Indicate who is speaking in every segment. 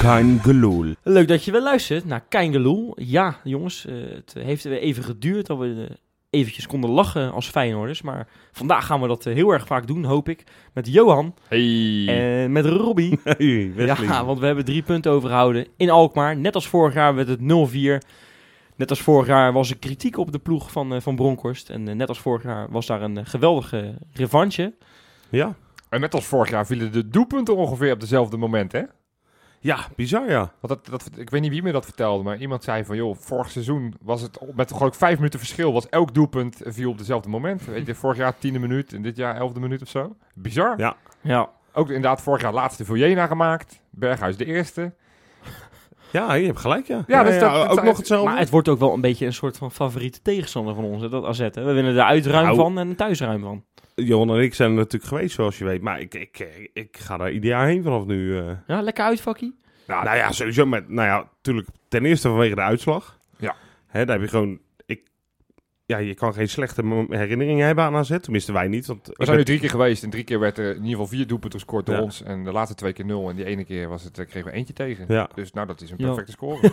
Speaker 1: Kein Geloel.
Speaker 2: Leuk dat je weer luistert naar Kein Geloel. Ja, jongens, eh, het heeft weer even geduurd dat we eh, eventjes konden lachen als Feyenoorders. Maar vandaag gaan we dat eh, heel erg vaak doen, hoop ik. Met Johan
Speaker 1: Hey.
Speaker 2: en met Robbie.
Speaker 1: Hey, Wesley.
Speaker 2: Ja, want we hebben drie punten overgehouden in Alkmaar. Net als vorig jaar werd het 0-4. Net als vorig jaar was er kritiek op de ploeg van, eh, van Bronkhorst. En eh, net als vorig jaar was daar een eh, geweldige revanche.
Speaker 1: ja.
Speaker 3: En net als vorig jaar vielen de doelpunten ongeveer op dezelfde moment, hè?
Speaker 1: Ja, bizar ja.
Speaker 3: Want dat, dat, ik weet niet wie me dat vertelde, maar iemand zei van... joh, vorig seizoen was het op- met geloof ik vijf minuten verschil... was elk doelpunt eh, viel op dezelfde moment. Weet je, vorig jaar tiende minuut en dit jaar elfde minuut of zo. Bizar.
Speaker 1: Ja.
Speaker 2: Ja,
Speaker 3: Ook inderdaad vorig jaar laatste voor Jena gemaakt. Berghuis de eerste.
Speaker 1: Ja, je hebt gelijk ja.
Speaker 3: Ja, dus dat- dat-
Speaker 1: ook nog hetzelfde.
Speaker 2: maar het wordt ook wel een beetje een soort van favoriete tegenstander van ons, hè, dat AZ. Hè. We winnen er uitruim
Speaker 1: Nou.
Speaker 2: van en thuisruim van.
Speaker 1: Johan en ik zijn er natuurlijk geweest zoals je weet. Maar ik, ik, ik, ik ga daar ieder jaar heen vanaf nu. eh.
Speaker 2: Ja, lekker uitvakkie.
Speaker 1: Nou, nou ja, sowieso. Met, nou ja, natuurlijk ten eerste vanwege de uitslag.
Speaker 3: Ja.
Speaker 1: Hè, daar heb je gewoon... Ik, ja, je kan geen slechte mom- herinneringen hebben aan AZ. Tenminste, wij niet. Want
Speaker 3: We zijn nu drie keer geweest en drie keer werd er in ieder geval vier doelpunten gescoord door
Speaker 1: Ja.
Speaker 3: ons. En de laatste twee keer nul en die ene keer was het, eh, kregen we eentje tegen.
Speaker 1: Ja.
Speaker 3: Dus nou, dat is een
Speaker 2: Ja.
Speaker 3: perfecte score.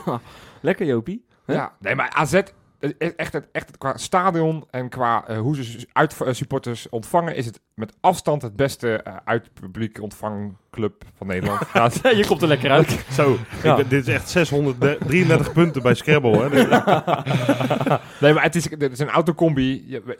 Speaker 2: Lekker Jopie. Hè?
Speaker 3: Ja, nee, maar AZ, het is echt, het- echt het- qua stadion en qua eh, hoe ze su- uit, eh, supporters ontvangen, is het met afstand het beste eh, uitpubliek ontvangclub van Nederland. ja, het-
Speaker 2: je komt er lekker uit.
Speaker 1: Zo,
Speaker 2: Ja.
Speaker 1: ik ben- dit is echt 633 punten bij Scrabble. Hè. Dus-
Speaker 3: nee, maar het is, het is een autocombi. Je, we-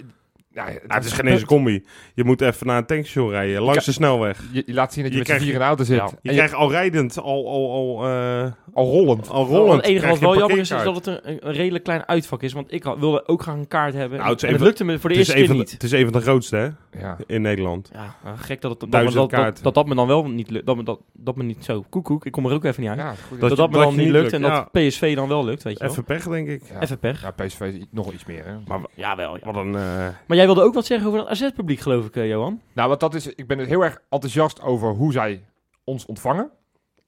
Speaker 3: ja,
Speaker 1: Nou, het is geen eens een combi. Je moet even naar een tankstation rijden, langs de snelweg.
Speaker 3: Je, je laat zien dat
Speaker 1: Je
Speaker 3: je, met z'n
Speaker 1: krijgt-
Speaker 3: vier in de auto zit.
Speaker 2: Ja.
Speaker 3: En
Speaker 1: Je
Speaker 3: je-
Speaker 1: krijgt al rijdend, al, al, al, eh,
Speaker 3: al rollend.
Speaker 1: al rollend.
Speaker 2: Het enige wat
Speaker 1: krijg je
Speaker 2: wel
Speaker 1: een
Speaker 2: jammer is, is
Speaker 1: parkeerkaart.
Speaker 2: dat het een, een- een redelijk klein uitvak is. Want ik had- wilde ook graag een kaart hebben.
Speaker 1: Nou, het is
Speaker 2: en het
Speaker 1: even-
Speaker 2: lukte me voor de
Speaker 1: het is
Speaker 2: eerste
Speaker 1: een
Speaker 2: keer
Speaker 1: van de-
Speaker 2: niet.
Speaker 1: het is een van de grootste hè,
Speaker 3: Ja.
Speaker 1: in Nederland.
Speaker 2: Ja, eh, gek dat, het, dat, dat,
Speaker 1: Duizend
Speaker 2: dat, dat,
Speaker 1: kaarten.
Speaker 2: dat dat me dan wel niet lukt. Dat me, dat, dat me niet zo. Koekoek, ik kom er ook even niet uit.
Speaker 3: Ja, goed.
Speaker 2: dat
Speaker 1: je-
Speaker 2: dat, me
Speaker 1: dat
Speaker 2: dan
Speaker 1: je
Speaker 2: niet
Speaker 1: niet
Speaker 2: lukt en
Speaker 1: lukt,
Speaker 2: dat PSV dan wel lukt, weet je
Speaker 1: Even pech, denk ik.
Speaker 2: wel. Even pech.
Speaker 3: ja, PSV is i- nog iets meer. Hè?
Speaker 1: Maar wa-
Speaker 2: Jawel, ja.
Speaker 1: wat een... eh,
Speaker 2: Maar jij wilde ook wat zeggen over dat AZ-publiek, geloof ik, eh, Johan.
Speaker 3: Nou, want dat is, ik ben er heel erg enthousiast over hoe zij ons ontvangen.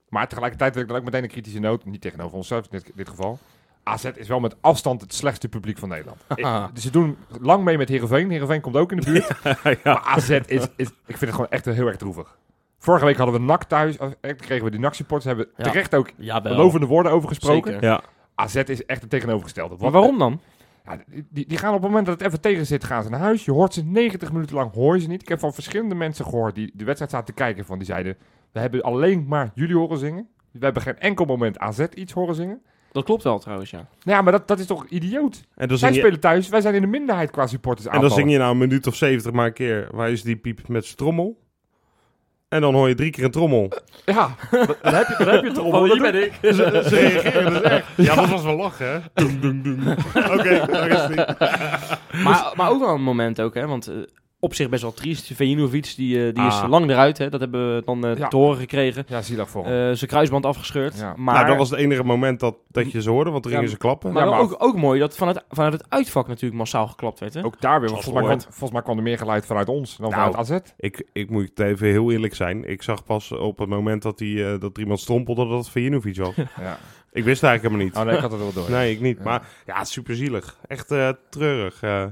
Speaker 3: Maar tegelijkertijd wil ik dan ook meteen een kritische noot, niet tegenover onszelf in dit, dit geval. AZ is wel met afstand het slechtste publiek van Nederland.
Speaker 2: Haha.
Speaker 3: Ik- dus ze doen lang mee met Heerenveen. Heerenveen komt ook in de buurt. Maar AZ is, is, ik vind het gewoon echt heel erg droevig. Vorige week hadden we NAC thuis. eh, Echt kregen we die NAC-supporters. Hebben
Speaker 2: Ja.
Speaker 3: terecht ook
Speaker 2: Jawel.
Speaker 3: lovende woorden over gesproken.
Speaker 2: Zeker.
Speaker 1: ja.
Speaker 3: AZ is echt het tegenovergestelde.
Speaker 2: Maar
Speaker 3: Want-
Speaker 2: waarom dan?
Speaker 3: ja, die, die gaan op het moment dat het even tegen zit, gaan ze naar huis. Je hoort ze 90 minuten lang, hoor je ze niet. Ik heb van verschillende mensen gehoord die de wedstrijd zaten te kijken. Van, die zeiden, we hebben alleen maar jullie horen zingen. We hebben geen enkel moment AZ iets horen zingen.
Speaker 2: Dat klopt wel trouwens, ja.
Speaker 3: Nou ja, maar dat, dat is toch idioot.
Speaker 1: En dan
Speaker 3: Zij
Speaker 1: zing je,
Speaker 3: spelen thuis, wij zijn in de minderheid qua supporters
Speaker 1: en dan
Speaker 3: aanvallen.
Speaker 1: zing je nou een minuut of zeventig maar een keer... Waar is die piep met zijn trommel? En dan hoor je drie keer een trommel.
Speaker 3: Ja, dan, dan heb je, dan heb je het erom.
Speaker 2: Oh,
Speaker 3: Dat
Speaker 2: hier ben ik.
Speaker 1: Ze, ze reageren dus echt. Ja, dat was wel lachen, hè? Doem, doem, doem. Oké, daar is het niet.
Speaker 2: Maar, maar ook wel een moment ook, hè. Want eh, op zich best wel triest. Vejinovic, die, eh, die is
Speaker 1: Ah.
Speaker 2: lang eruit, hè. Dat hebben we dan eh,
Speaker 3: Ja.
Speaker 2: te horen gekregen.
Speaker 3: Ja, zielig voor hem.
Speaker 2: Eh, zijn kruisband afgescheurd.
Speaker 3: Ja.
Speaker 2: Maar,
Speaker 1: Nou, dat was het enige moment dat, dat je ze hoorde, want toen
Speaker 2: Ja,
Speaker 1: gingen ze klappen.
Speaker 2: maar,
Speaker 3: Ja,
Speaker 2: wel
Speaker 3: maar-
Speaker 2: Ook, ook mooi dat vanuit, vanuit het uitvak natuurlijk massaal geklapt werd, hè.
Speaker 3: Ook daar weer, want
Speaker 1: Zoals
Speaker 3: volgens mij,
Speaker 1: gehoord.
Speaker 3: kwam, volgens mij kwam er meer geluid vanuit ons dan
Speaker 1: Nou.
Speaker 3: vanuit AZ.
Speaker 1: Ik, ik moet even heel eerlijk zijn. Ik zag pas op het moment dat, die, eh, dat er iemand strompelde dat het Vajinovic was.
Speaker 3: Ja.
Speaker 1: ik wist eigenlijk helemaal niet.
Speaker 3: Oh nee, ik had het wel door.
Speaker 1: Nee, ik niet.
Speaker 3: Ja.
Speaker 1: Maar ja, superzielig. Echt eh, treurig. eh.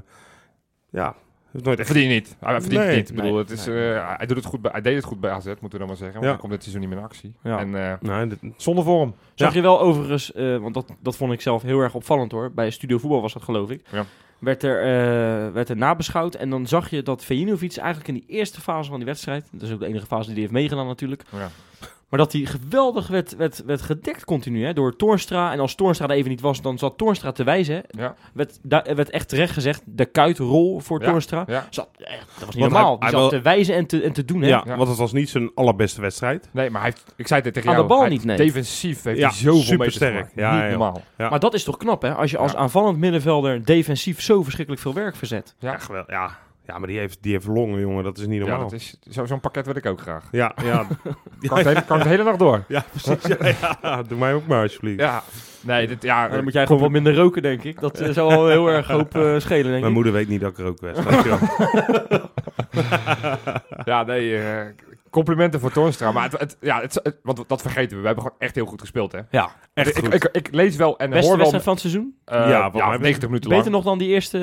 Speaker 1: ja, heeft nooit echt...
Speaker 3: Dat verdien je niet. Hij verdient het
Speaker 1: Nee.
Speaker 3: niet. Ik bedoel,
Speaker 2: Nee.
Speaker 3: het is, eh, hij, doet het goed bij, hij deed het goed bij AZ, moeten we dan maar zeggen. Want
Speaker 1: Ja.
Speaker 3: hij komt dit seizoen niet meer in actie.
Speaker 2: Ja.
Speaker 3: En eh
Speaker 1: Nee, dit-
Speaker 3: zonder vorm.
Speaker 2: Zag je wel overigens, eh, want dat, dat vond ik zelf heel erg opvallend hoor. Bij Studio Voetbal was dat geloof ik.
Speaker 3: Ja.
Speaker 2: Werd, er, eh, werd er nabeschouwd en dan zag je dat Vejinovic eigenlijk in die eerste fase van die wedstrijd... Dat is ook de enige fase die hij heeft meegedaan natuurlijk.
Speaker 3: Ja.
Speaker 2: Maar dat hij geweldig werd, werd, werd gedekt continu hè, door Toornstra. En als Toornstra er even niet was, dan zat Toornstra te wijzen. hè.
Speaker 3: Ja.
Speaker 2: Werd, daar werd echt terecht gezegd, de kuitrol voor
Speaker 3: Ja.
Speaker 2: Toornstra.
Speaker 3: Ja.
Speaker 2: Zat, echt, dat was niet
Speaker 1: Want
Speaker 2: normaal.
Speaker 1: hij-
Speaker 2: die
Speaker 1: hij
Speaker 2: zat
Speaker 1: wil-
Speaker 2: te wijzen en te, en te doen. Hè.
Speaker 1: ja,
Speaker 3: Ja.
Speaker 1: want het was niet zijn allerbeste wedstrijd.
Speaker 3: Nee, maar hij heeft, ik zei het tegen
Speaker 2: Aan
Speaker 3: jou.
Speaker 2: de bal
Speaker 3: hij-
Speaker 2: niet, nee.
Speaker 3: Defensief heeft
Speaker 1: Ja,
Speaker 3: hij zoveel meters
Speaker 1: supersterk.
Speaker 3: gemaakt.
Speaker 1: Ja,
Speaker 3: niet
Speaker 1: ja.
Speaker 3: normaal.
Speaker 1: Ja.
Speaker 2: Maar dat is toch knap hè, als je als
Speaker 3: Ja.
Speaker 2: aanvallend middenvelder defensief zo verschrikkelijk veel werk verzet.
Speaker 3: Ja.
Speaker 1: Ja, geweldig. Ja. ja, maar die heeft, die heeft longen, jongen. Dat is niet
Speaker 3: Ja,
Speaker 1: normaal.
Speaker 3: dat is, zo, zo'n pakket wil ik ook graag.
Speaker 1: Ja, ja.
Speaker 3: Kan ik de hele, kan ik de hele dag door.
Speaker 1: Ja, precies. Ja, ja. Doe mij ook maar, alsjeblieft.
Speaker 3: Ja. Nee, dit, ja.
Speaker 2: Maar dan moet jij gewoon wat minder roken, denk ik. Dat eh, zou al heel erg hoop eh, schelen, denk
Speaker 1: Mijn
Speaker 2: ik.
Speaker 1: moeder weet niet dat ik er ook was. Dankjewel.
Speaker 3: Ja, nee. eh, Complimenten voor Toornstra. Maar het, het- ja, het, het- want dat vergeten we. We hebben gewoon echt heel goed gespeeld, hè?
Speaker 2: Ja,
Speaker 1: Echt
Speaker 3: ik,
Speaker 1: goed.
Speaker 3: Ik, ik lees wel en
Speaker 2: beste
Speaker 3: hoor wel...
Speaker 2: wedstrijd van het seizoen.
Speaker 3: eh,
Speaker 1: Ja, wat mij
Speaker 3: ja,
Speaker 1: betreft.
Speaker 3: 90 minuten lang.
Speaker 2: Beter nog dan die eerste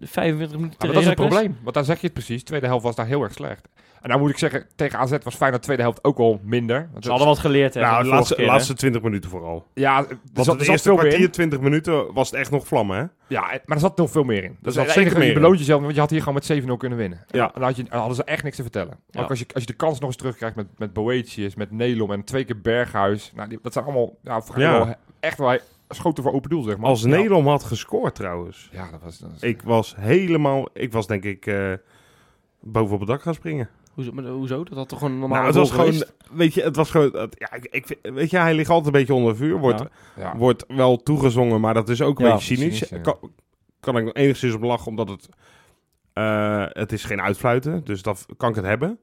Speaker 2: eh, 45 minuten.
Speaker 3: Ja, maar dat is het probleem. Want daar zeg je het precies. De tweede helft was daar heel erg slecht. En nou moet ik zeggen, tegen AZ was Feyenoord de tweede helft ook al minder. Want het-
Speaker 2: Ze hadden wat geleerd. hè, van
Speaker 1: Nou,
Speaker 2: de
Speaker 1: de
Speaker 2: vorige
Speaker 1: laatste,
Speaker 2: keer, hè.
Speaker 1: laatste 20 minuten vooral.
Speaker 3: ja, er
Speaker 1: Want
Speaker 3: zat, er
Speaker 1: het
Speaker 3: zat
Speaker 1: eerste
Speaker 3: veel meer in.
Speaker 1: kwartier, 20 minuten, was het echt nog vlammen, hè?
Speaker 3: Ja, maar er zat nog veel meer in. Dus Dat
Speaker 1: zat
Speaker 3: is het
Speaker 1: zeker
Speaker 3: enige,
Speaker 1: meer
Speaker 3: je
Speaker 1: in.
Speaker 3: beloont jezelf, want je had hier gewoon met 7-0 kunnen winnen. En
Speaker 1: Ja.
Speaker 3: dan, had je, dan hadden ze echt niks te vertellen.
Speaker 2: Ja.
Speaker 3: Ook als je, als je de kans nog eens terugkrijgt met, met Boetius, met Nelom en twee keer Berghuis. Nou, die, dat zijn allemaal ja, vrij
Speaker 1: Ja.
Speaker 3: wel- echt wel schoten voor open doel, zeg maar.
Speaker 1: Als
Speaker 3: Ja.
Speaker 1: Nederland had gescoord, trouwens.
Speaker 3: Ja, dat was... Dat was-
Speaker 1: Ik was helemaal... Ik was, denk ik, eh, boven op het dak gaan springen.
Speaker 2: Hoezo, maar, hoezo? Dat had toch gewoon normaal
Speaker 1: Nou, het was gewoon... Weet je, het was gewoon... het- ja, ik, ik vind- weet je, hij ligt altijd een beetje onder vuur. Wordt,
Speaker 3: ja.
Speaker 1: wordt wel toegezongen, maar dat is ook een
Speaker 2: Ja,
Speaker 1: beetje cynisch.
Speaker 3: cynisch, ja.
Speaker 1: kan, kan ik nog enigszins op lachen, omdat het... eh, het is geen uitfluiten, dus dat kan ik het hebben.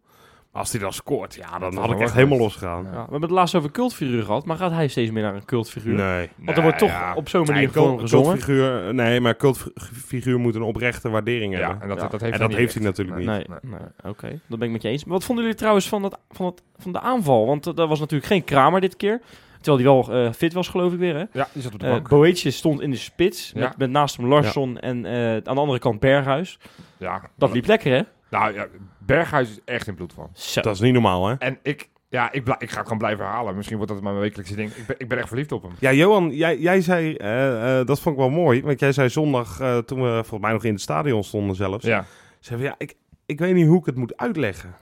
Speaker 1: Maar als hij dan scoort, ja, dan had
Speaker 3: was
Speaker 1: ik
Speaker 3: wel
Speaker 1: echt
Speaker 3: goed.
Speaker 1: helemaal losgegaan.
Speaker 2: Ja, we hebben het laatst over cultfiguren gehad, maar gaat hij steeds meer naar een cultfiguur?
Speaker 1: Nee.
Speaker 2: Want er wordt toch
Speaker 3: ja.
Speaker 2: op zo'n
Speaker 1: Nee,
Speaker 2: manier
Speaker 1: cult-
Speaker 2: gewoon gezongen.
Speaker 1: cultfiguur- nee, maar cultfiguur moet een oprechte waardering
Speaker 3: Ja,
Speaker 1: hebben.
Speaker 3: en dat,
Speaker 2: Ja.
Speaker 3: dat heeft,
Speaker 1: En
Speaker 3: hij,
Speaker 1: dat
Speaker 3: niet
Speaker 1: heeft
Speaker 3: echt.
Speaker 1: hij natuurlijk niet.
Speaker 2: Nee, nee. oké. Dat ben ik met je eens. Maar wat vonden jullie trouwens van, dat, van, dat, van de aanval? Want eh, dat was natuurlijk geen Kramer dit keer. Terwijl die wel eh, fit was, geloof ik weer. Hè?
Speaker 3: Ja, die zat op de
Speaker 2: Eh
Speaker 3: bank.
Speaker 2: Boetje stond in de spits.
Speaker 3: Ja.
Speaker 2: Met, met naast hem Larsson en eh, aan de andere kant Berghuis.
Speaker 3: ja.
Speaker 2: Dat liep lekker, hè?
Speaker 3: Nou ja, Berghuis is echt in bloed van.
Speaker 2: Zo.
Speaker 1: Dat is niet normaal, hè?
Speaker 3: En ik, ja, ik, bla- ik ga het gewoon blijven herhalen. Misschien wordt dat mijn wekelijkse ding. Ik ben, ik ben echt verliefd op hem.
Speaker 1: Ja, Johan, jij, jij zei, eh, eh, dat vond ik wel mooi, want jij zei zondag, eh, toen we volgens mij nog in het stadion stonden zelfs,
Speaker 3: Ja.
Speaker 1: zei van, ja, ik, ik weet niet hoe ik het moet uitleggen.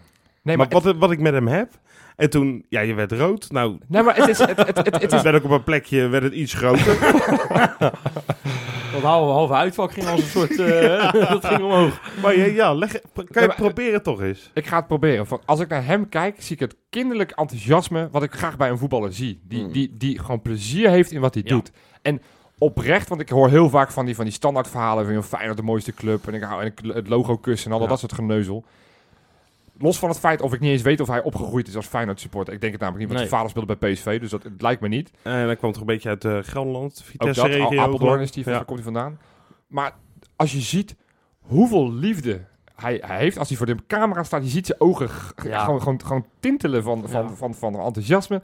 Speaker 3: Nee,
Speaker 1: maar wat, wat ik met hem heb, en toen, ja, je werd rood, nou,
Speaker 3: Nee, maar het is... Het, het, het, het
Speaker 1: toen
Speaker 3: is
Speaker 1: werd ik op een plekje, werd het iets groter.
Speaker 2: Dat halve, halve uitvak ging als een soort... eh, dat ging omhoog.
Speaker 1: maar ja, ja leg, kan je
Speaker 3: Ja, maar-
Speaker 1: proberen toch eens?
Speaker 3: ik ga het proberen. Van, als ik naar hem kijk, zie ik het kinderlijk enthousiasme... wat ik graag bij een voetballer zie. Die,
Speaker 2: Mm.
Speaker 3: die, die gewoon plezier heeft in wat hij
Speaker 2: Ja.
Speaker 3: doet. En oprecht, want ik hoor heel vaak van die, van die standaard verhalen... van joh, Feyenoord de mooiste club en, ik hou, en ik, het logo kussen en al
Speaker 1: Ja.
Speaker 3: dat soort geneuzel. Los van het feit of ik niet eens weet of hij opgegroeid is als Feyenoord supporter. Ik denk het namelijk niet, want
Speaker 2: Nee.
Speaker 3: zijn vader speelde bij PSV. Dus dat het lijkt me niet.
Speaker 1: En dat kwam toch een beetje uit eh, Gelderland,
Speaker 3: Ook dat,
Speaker 1: Vitesse-regio.
Speaker 3: Al- Apeldoorn
Speaker 1: geloof
Speaker 3: is
Speaker 1: ik.
Speaker 3: die,
Speaker 1: Ja.
Speaker 3: daar komt hij vandaan. Maar als je ziet hoeveel liefde hij, hij heeft als hij voor de camera staat, je ziet zijn ogen g- g-
Speaker 2: Ja.
Speaker 3: gewoon, gewoon, gewoon tintelen van, van,
Speaker 2: Ja.
Speaker 3: van, van, enthousiasme.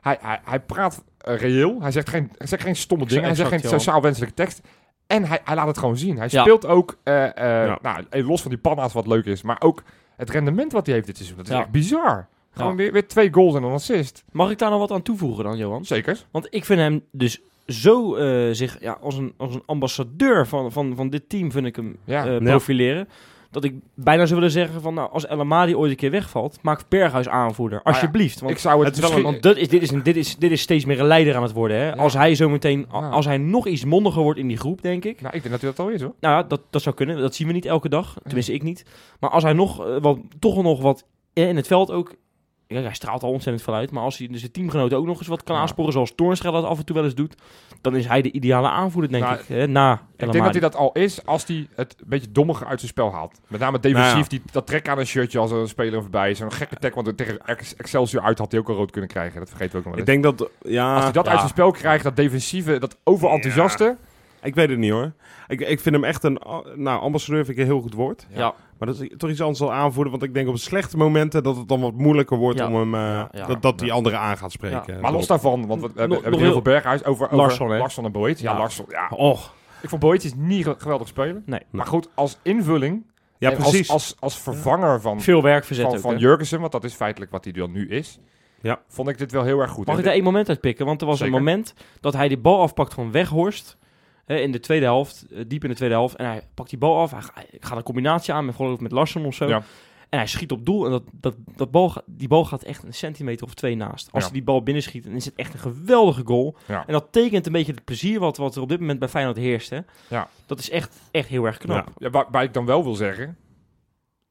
Speaker 3: Hij, hij, hij praat eh, reëel, hij zegt geen, hij zegt geen stomme
Speaker 2: Exact,
Speaker 3: dingen, hij zegt geen
Speaker 2: exact, Johan.
Speaker 3: sociaal wenselijke tekst. En hij, hij laat het gewoon zien. Hij
Speaker 2: Ja.
Speaker 3: speelt ook, eh, eh,
Speaker 1: Ja.
Speaker 3: nou, eh, los van die panna's wat leuk is, maar ook het rendement wat hij heeft dit seizoen. Dat is
Speaker 2: Ja.
Speaker 3: echt bizar. Gewoon
Speaker 2: Ja.
Speaker 3: weer, weer twee goals en een assist.
Speaker 2: Mag ik daar nog wat aan toevoegen dan, Johan?
Speaker 3: Zeker.
Speaker 2: Want ik vind hem dus zo eh, zich ja, als, een, als een ambassadeur van, van, van dit team vind ik hem
Speaker 3: Ja.
Speaker 2: eh,
Speaker 1: Ja.
Speaker 2: profileren. Dat ik bijna zou willen zeggen van nou, als El Amadi ooit een keer wegvalt, maak Berghuis aanvoerder.
Speaker 3: Ah ja,
Speaker 2: Alsjeblieft. want
Speaker 3: ik zou het,
Speaker 1: het is wel een
Speaker 3: misschien-
Speaker 2: want dat is, dit, is een, dit, is, dit is steeds meer een leider aan het worden. Hè? Als hij zo meteen, a-
Speaker 3: Ja.
Speaker 2: als hij nog iets mondiger wordt in die groep, denk ik.
Speaker 3: Nou, ik denk dat hij dat al is hoor.
Speaker 2: Nou, ja, dat, dat zou kunnen. Dat zien we niet elke dag. Tenminste, ik niet. Maar als hij nog, eh, wat, toch nog wat eh, in het veld ook... Ja, hij straalt al ontzettend veel uit. Maar als hij dus zijn teamgenoten ook nog eens wat kan
Speaker 3: Ja.
Speaker 2: aansporen... zoals Toornstra dat af en toe wel eens doet... dan is hij de ideale aanvoerder, denk
Speaker 3: Nou,
Speaker 2: ik. Hè, na
Speaker 3: Ik denk dat hij dat al is als hij het een beetje dommige uit zijn spel haalt. Met name defensief,
Speaker 1: Nou ja.
Speaker 3: die, dat trek aan een shirtje als er een speler voorbij is. Een gekke tag, want tegen Ex- Excelsior uit had hij ook al rood kunnen krijgen. Dat vergeten we ook nog wel
Speaker 1: Ik
Speaker 3: eens.
Speaker 1: denk dat, ja...
Speaker 3: als hij dat
Speaker 1: ja.
Speaker 3: uit zijn spel krijgt, dat defensieve, dat overenthousiaste.
Speaker 1: Ik weet het niet hoor. Ik, ik vind hem echt een. Nou, ambassadeur vind ik een heel goed woord.
Speaker 2: Ja.
Speaker 1: Maar dat is toch iets anders dan aanvoeren. Want ik denk op slechte momenten dat het dan wat moeilijker wordt
Speaker 2: Ja.
Speaker 1: om hem. eh,
Speaker 2: Ja, ja.
Speaker 1: dat, dat die anderen aan gaat spreken.
Speaker 3: maar los daarvan, want we hebben, we
Speaker 2: Nog-
Speaker 3: hebben
Speaker 2: nog
Speaker 3: heel
Speaker 2: heel-
Speaker 3: veel berghuis over, over
Speaker 2: Larsson, hè?
Speaker 3: en Boyd. Ja,
Speaker 2: Ja.
Speaker 3: Larsson. Ja.
Speaker 1: Och.
Speaker 3: Ik vond Boyd is niet ge- geweldig spelen.
Speaker 2: Nee.
Speaker 3: Maar goed, als invulling,
Speaker 1: Ja,
Speaker 3: en
Speaker 1: precies.
Speaker 3: Als, als, als vervanger van,
Speaker 2: Veel werk verzet
Speaker 3: van,
Speaker 2: ook,
Speaker 3: van
Speaker 2: hè.
Speaker 3: Jurgensen, want dat is feitelijk wat hij dan nu is.
Speaker 1: Ja.
Speaker 3: Vond ik dit wel heel erg goed.
Speaker 2: Mag
Speaker 3: En
Speaker 2: ik daar één moment uit pikken? Want er was
Speaker 3: Zeker.
Speaker 2: een moment dat hij de bal afpakt van Weghorst. Hè, in de tweede helft, eh, diep in de tweede helft. En hij pakt die bal af. Hij, ga- hij gaat een combinatie aan met, geloof ik, met Larsson of zo.
Speaker 3: Ja.
Speaker 2: En hij schiet op doel. En dat, dat, dat bal, ga- die bal gaat echt een centimeter of twee naast. Als
Speaker 3: Ja.
Speaker 2: hij die bal binnenschiet, dan is het echt een geweldige goal.
Speaker 3: Ja.
Speaker 2: En dat tekent een beetje het plezier wat, wat er op dit moment bij Feyenoord heerst. Hè?
Speaker 3: Ja.
Speaker 2: Dat is echt, echt heel erg knap.
Speaker 3: Ja, waar, waar ik dan wel wil zeggen,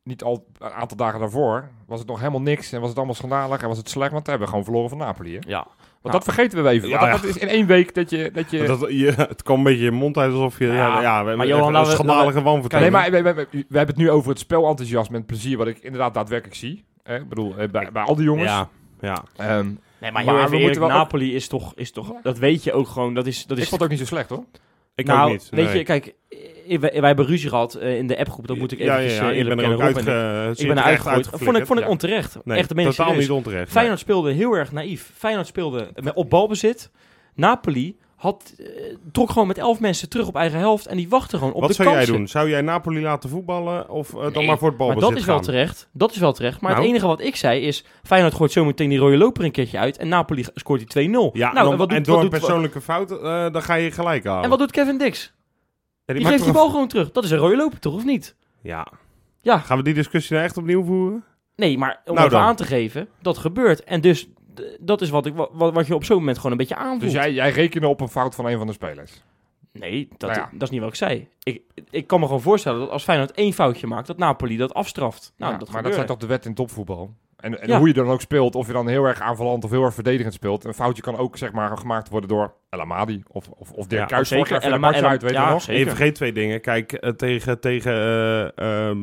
Speaker 3: niet al een aantal dagen daarvoor, was het nog helemaal niks en was het allemaal schandalig en was het slecht, want we hebben gewoon verloren van Napoli. Hè? Want
Speaker 2: Ja. Nou.
Speaker 3: dat vergeten we even.
Speaker 1: Ja,
Speaker 3: want dat,
Speaker 1: ja.
Speaker 3: dat is in één week dat je... Dat je
Speaker 1: dat, je, het kwam een beetje in je mond uit alsof je. Ja, ja,
Speaker 2: Ja,
Speaker 1: we hebben
Speaker 2: maar Johan,
Speaker 1: echt een
Speaker 2: laten we-
Speaker 1: schandalige
Speaker 3: nee,
Speaker 1: wanvertoning.
Speaker 3: maar we, we- we- we hebben het nu over het spelenthousiasme en het plezier wat ik inderdaad daadwerkelijk zie. Hè? Ik bedoel, eh, bij, bij al die jongens.
Speaker 1: Ja, ja.
Speaker 3: Ehm,
Speaker 2: Nee, maar heel
Speaker 3: Maar
Speaker 2: even
Speaker 3: we moeten
Speaker 2: eerlijk,
Speaker 3: wel ook-
Speaker 2: Napoli is toch, is toch...
Speaker 3: Ja.
Speaker 1: dus-
Speaker 2: Dat weet je ook gewoon. Dat is, dat
Speaker 3: ik
Speaker 2: is
Speaker 3: vond het ook niet zo slecht hoor.
Speaker 1: Ik
Speaker 2: nou,
Speaker 1: ook niet.
Speaker 2: Weet
Speaker 1: nee.
Speaker 2: je, kijk, wij, wij hebben ruzie gehad eh, in de appgroep. Dat moet ik eh, even
Speaker 1: ja, ja, ja, ik ben er ook uitge,
Speaker 2: Ik ben eruit gegooid. Vond ik, vond ik onterecht.
Speaker 1: Nee,
Speaker 2: Echt, dat meen ik
Speaker 1: totaal
Speaker 2: serieus.
Speaker 1: niet onterecht. nee.
Speaker 2: Feyenoord speelde heel erg naïef. Feyenoord speelde met- op balbezit. Napoli had, eh, trok gewoon met elf mensen terug op eigen helft. En die wachten gewoon op
Speaker 1: Wat
Speaker 2: de
Speaker 1: zou
Speaker 2: kansen.
Speaker 1: jij doen? Zou jij Napoli laten voetballen of eh, dan
Speaker 2: Nee,
Speaker 1: maar voor het
Speaker 2: Maar
Speaker 1: balbezit
Speaker 2: dat is wel
Speaker 1: gaan?
Speaker 2: terecht. Dat is wel terecht. Maar het
Speaker 1: Nou.
Speaker 2: enige wat ik zei is... Feyenoord gooit zo meteen die rode loper een keertje uit. En Napoli scoort die 2-0.
Speaker 1: Ja,
Speaker 2: nou,
Speaker 1: en,
Speaker 2: en
Speaker 1: dan-
Speaker 2: wat doet,
Speaker 1: en door
Speaker 2: wat
Speaker 1: een
Speaker 2: doet-
Speaker 1: persoonlijke fout, eh, dan ga je gelijk halen.
Speaker 2: en wat doet Kevin Dix?
Speaker 1: Ja,
Speaker 2: Die
Speaker 1: maakt
Speaker 2: geeft die
Speaker 1: toch
Speaker 2: bal gewoon terug. Dat is een rode loper toch, of niet?
Speaker 1: een- Ja.
Speaker 2: Ja.
Speaker 1: Gaan we die discussie nou echt opnieuw voeren?
Speaker 2: Nee, maar om
Speaker 1: Nou
Speaker 2: even
Speaker 1: dan.
Speaker 2: aan te geven, dat gebeurt. En dus, d- dat is wat, ik, wa- wat, wat je op zo'n moment gewoon een beetje aanvoelt.
Speaker 3: Dus jij, jij rekende op een fout van een van de spelers.
Speaker 2: Nee, dat,
Speaker 3: Nou ja.
Speaker 2: dat is niet wat ik zei. Ik, ik kan me gewoon voorstellen dat als Feyenoord één foutje maakt, dat Napoli dat afstraft. Nou, dat
Speaker 3: Ja, maar dat
Speaker 2: gebeurde.
Speaker 3: zijn toch de wet in topvoetbal? En, en
Speaker 2: Ja.
Speaker 3: hoe je dan ook speelt, of je dan heel erg aanvallend of heel erg verdedigend speelt. Een foutje kan ook zeg maar, gemaakt worden door El Amadi of, of, of
Speaker 1: Ja,
Speaker 3: Dirk ja, Kuyt.
Speaker 2: zeker.
Speaker 3: Vorig jaar
Speaker 2: El
Speaker 3: viel
Speaker 2: Ama-
Speaker 3: Barca
Speaker 2: El-
Speaker 3: uit, weet je
Speaker 2: ja,
Speaker 3: nog?
Speaker 2: Zeker.
Speaker 1: Je vergeet twee dingen. Kijk, eh, tegen, tegen eh, ehm,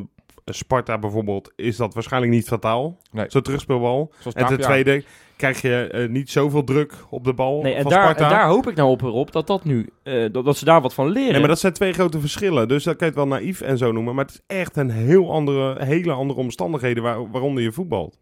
Speaker 1: Sparta bijvoorbeeld is dat waarschijnlijk niet fataal.
Speaker 3: Nee.
Speaker 1: Zo'n terugspeelbal.
Speaker 3: Zoals
Speaker 1: En ten
Speaker 3: Tapia.
Speaker 1: tweede krijg je eh, niet zoveel druk op de bal
Speaker 2: Nee, en
Speaker 1: van
Speaker 2: daar,
Speaker 1: Sparta.
Speaker 2: en daar hoop ik nou op, op dat dat nu, eh, dat, dat ze daar wat van leren.
Speaker 1: Nee, maar dat zijn twee grote verschillen. Dus dat kan je het wel naïef en zo noemen. Maar het is echt een heel andere, hele andere omstandigheden waar, waaronder je voetbalt.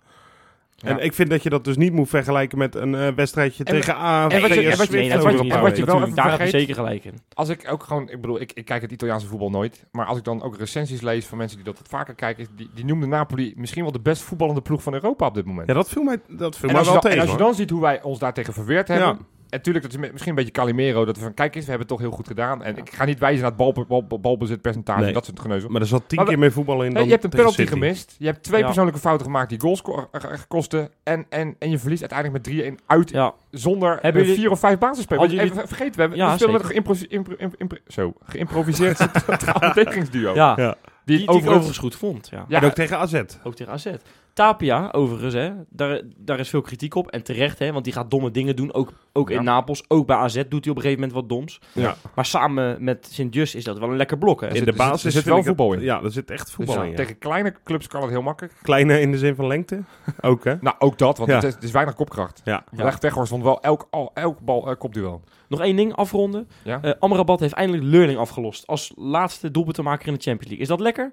Speaker 1: En
Speaker 3: Ja.
Speaker 1: ik vind dat je dat dus niet moet vergelijken met een eh, wedstrijdje
Speaker 3: En-
Speaker 1: tegen A.
Speaker 3: en wat je-
Speaker 1: tegen
Speaker 3: en wat je-
Speaker 1: Swift
Speaker 3: en
Speaker 1: over
Speaker 3: wat je-
Speaker 1: een
Speaker 3: en
Speaker 1: paar
Speaker 3: wat je
Speaker 1: weken.
Speaker 3: wel even
Speaker 2: daar heb je
Speaker 3: vergeet-
Speaker 2: zeker gelijk in.
Speaker 3: Als ik ook gewoon, ik bedoel, ik, ik kijk het Italiaanse voetbal nooit. Maar als ik dan ook recensies lees van mensen die dat wat vaker kijken, die, die noemden Napoli misschien wel de best voetballende ploeg van Europa op dit moment.
Speaker 1: Ja, dat viel mij, dat viel
Speaker 3: en,
Speaker 1: mij
Speaker 3: als je
Speaker 1: wel
Speaker 3: dan, en
Speaker 1: tegen.
Speaker 3: als je
Speaker 1: hoor.
Speaker 3: dan ziet hoe wij ons daartegen verweerd hebben.
Speaker 1: Ja.
Speaker 3: En natuurlijk, dat is me- misschien een beetje Calimero. Dat we van, kijk eens, we hebben het toch heel goed gedaan. En ik ga niet wijzen naar het balbe- bal- balbezitpercentage.
Speaker 1: Nee.
Speaker 3: Dat soort geneuzel.
Speaker 1: Maar er zat tien
Speaker 3: Maar we-
Speaker 1: keer meer voetbal in
Speaker 3: Nee,
Speaker 1: dan
Speaker 3: je hebt een
Speaker 1: tegen
Speaker 3: penalty
Speaker 1: City.
Speaker 3: gemist. Je hebt twee
Speaker 2: Ja.
Speaker 3: persoonlijke fouten gemaakt die goals ko- eh, eh, kosten. En, en, en je verliest uiteindelijk met 3-1 uit.
Speaker 2: Ja,
Speaker 3: Zonder
Speaker 2: Hebben
Speaker 3: eh,
Speaker 2: jullie-
Speaker 3: vier of vijf basisspelers.
Speaker 2: Hadden jullie-
Speaker 3: Even vergeten, we, hebben,
Speaker 2: Ja,
Speaker 3: we spelen met een
Speaker 2: zeker.
Speaker 3: geïmpro- impro- impro- impro- zo, geïmproviseerd centraal verdedigingsduo.
Speaker 2: ja.
Speaker 1: Ja.
Speaker 2: Die,
Speaker 3: Die,
Speaker 2: die ik
Speaker 3: overigens...
Speaker 2: overigens goed vond, ja.
Speaker 3: Ja, dus,
Speaker 1: En ook tegen AZ.
Speaker 2: Ook tegen AZ. Tapia, overigens, hè, daar, daar is veel kritiek op. En terecht, hè, want die gaat domme dingen doen. Ook, ook
Speaker 3: Ja.
Speaker 2: in Napels, ook bij AZ doet hij op een gegeven moment wat doms.
Speaker 1: Ja.
Speaker 2: Maar samen met Sint-Just is dat wel een lekker blok, hè.
Speaker 3: zit-
Speaker 1: In
Speaker 3: er
Speaker 1: de
Speaker 3: zit- er
Speaker 1: basis
Speaker 3: zit
Speaker 1: vind
Speaker 3: wel
Speaker 1: ik het-
Speaker 3: voetbal in.
Speaker 1: Ja, er zit echt
Speaker 3: dus
Speaker 1: voetbal in. ja.
Speaker 3: Tegen kleine clubs kan het heel makkelijk.
Speaker 1: Kleine in de zin van lengte. Ook, hè?
Speaker 3: Nou, ook dat, want
Speaker 1: Ja.
Speaker 3: het, is, het is weinig kopkracht.
Speaker 1: Ja.
Speaker 2: Ja.
Speaker 3: Leg Weghorst stond wel elk, al, elk bal eh, kopduel.
Speaker 2: Nog één ding afronden.
Speaker 3: Ja.
Speaker 2: Eh, Amrabat heeft eindelijk Leurling afgelost. Als laatste doelpuntenmaker in de Champions League. Is dat lekker?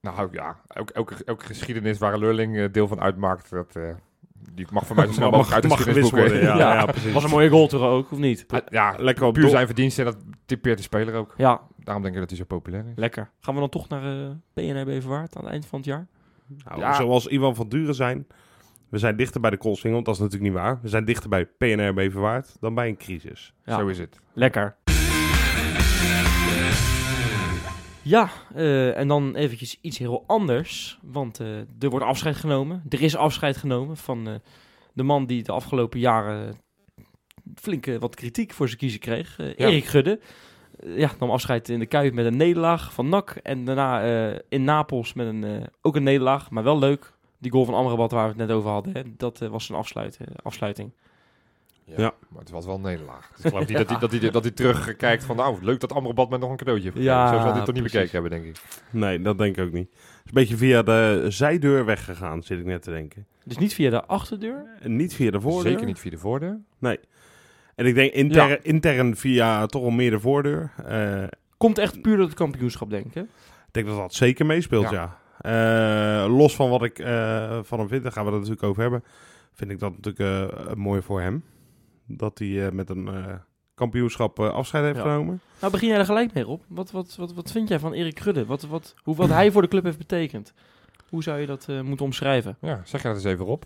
Speaker 3: Nou ja, elke, elke, elke geschiedenis waar een leerling eh, deel van uitmaakt, dat, eh, die mag van mij zo snel mogelijk uit de geschiedenis
Speaker 1: worden. Ja,
Speaker 2: Ja.
Speaker 1: ja, precies.
Speaker 2: Was een mooie goal toch ook, of niet?
Speaker 3: Ja,
Speaker 1: Lekker op
Speaker 3: puur
Speaker 1: doel.
Speaker 3: zijn verdiensten, dat typeert de speler ook.
Speaker 2: Ja,
Speaker 3: Daarom denk ik dat hij zo populair is.
Speaker 2: lekker. Gaan we dan toch naar eh BNR Beverwaard aan het eind van het jaar?
Speaker 1: Nou,
Speaker 3: Ja.
Speaker 1: Zoals Iwan van Duren zijn. We zijn dichter bij de koolsingel, want dat is natuurlijk niet waar. We zijn dichter bij PNR Beverwaard dan bij een crisis.
Speaker 2: Ja.
Speaker 3: Zo is het.
Speaker 2: Lekker. Ja, eh, en dan eventjes iets heel anders. Want eh, er wordt afscheid genomen. Er is afscheid genomen van eh, de man die de afgelopen jaren flinke wat kritiek voor zijn kiezen kreeg. eh,
Speaker 3: Ja.
Speaker 2: Erik Gudde. Eh, ja, nam afscheid in de Kuip met een nederlaag van NAC. En daarna eh, in Napels met een, eh, ook een nederlaag, maar wel leuk. Die goal van Amrabat waar we het net over hadden. Hè, dat eh, was zijn afsluit, eh, afsluiting.
Speaker 1: Ja.
Speaker 3: Maar het was wel een nederlaag. Dus ik geloof niet dat hij, dat, hij, dat hij terugkijkt van, nou, leuk dat Amrabat met nog een cadeautje heeft gegeven.
Speaker 2: Ja,
Speaker 3: Zo zal hij het toch niet
Speaker 2: precies.
Speaker 3: bekeken hebben, denk ik.
Speaker 1: Nee, dat denk ik ook niet. Het is een beetje via de zijdeur weggegaan, zit ik net te denken.
Speaker 2: Dus niet via de achterdeur.
Speaker 1: En niet via de voordeur.
Speaker 3: Zeker niet via de voordeur.
Speaker 1: En ik denk inter- intern via toch al meer de voordeur. Eh,
Speaker 2: Komt echt puur door het kampioenschap, denk ik. hè?
Speaker 1: ik denk dat dat zeker meespeelt, ja.
Speaker 3: Ja.
Speaker 1: Eh, los van wat ik eh, van hem vind, daar gaan we het natuurlijk over hebben. Vind ik dat natuurlijk eh, mooi voor hem. Dat hij eh, met een eh, kampioenschap eh, afscheid heeft
Speaker 2: Ja.
Speaker 1: genomen.
Speaker 2: Nou, begin jij er gelijk mee op. Wat, wat, wat, wat vind jij van Erik Krudde? Wat, wat, hoe, wat hij voor de club heeft betekend? Hoe zou je dat eh, moeten omschrijven?
Speaker 3: Ja, zeg je dat eens even op.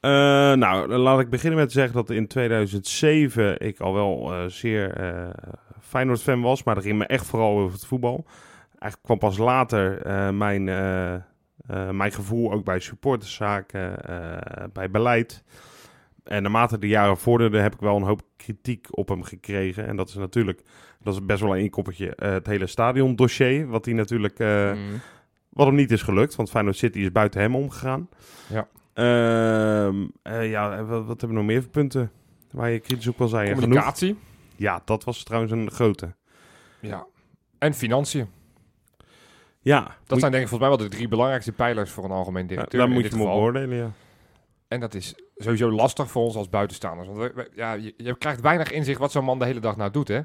Speaker 1: Eh, nou, dan laat ik beginnen met te zeggen dat in 2007 ik al wel eh, zeer eh Feyenoord-fan was. Maar dat ging me echt vooral over het voetbal. Eigenlijk kwam pas later eh, mijn, eh, eh, mijn gevoel ook bij supporterszaken, eh, bij beleid. En naarmate de jaren vorderden heb ik wel een hoop kritiek op hem gekregen. En dat is natuurlijk, dat is best wel een inkoppertje, eh, het hele stadiondossier. Wat hij natuurlijk... eh,
Speaker 2: Mm.
Speaker 1: wat hem niet is gelukt, want Feyenoord City is buiten hem omgegaan.
Speaker 3: Ja.
Speaker 1: Ehm, eh, ja, en wat, wat hebben we nog meer voor punten waar je kritisch op wil zijn? Ja, genoeg.
Speaker 3: Communicatie.
Speaker 1: Ja, dat was trouwens een grote.
Speaker 3: Ja. En financiën.
Speaker 1: Ja,
Speaker 3: Dat
Speaker 1: moet-
Speaker 3: zijn denk ik volgens mij wel de drie belangrijkste pijlers voor een algemeen
Speaker 1: ja,
Speaker 3: directeur.
Speaker 1: daar
Speaker 3: in
Speaker 1: moet
Speaker 3: dit
Speaker 1: je me op
Speaker 3: geval.
Speaker 1: beoordelen, ja.
Speaker 3: En dat is sowieso lastig voor ons als buitenstaanders. Want we- we- ja, je, je krijgt weinig inzicht wat zo'n man de hele dag nou doet, hè?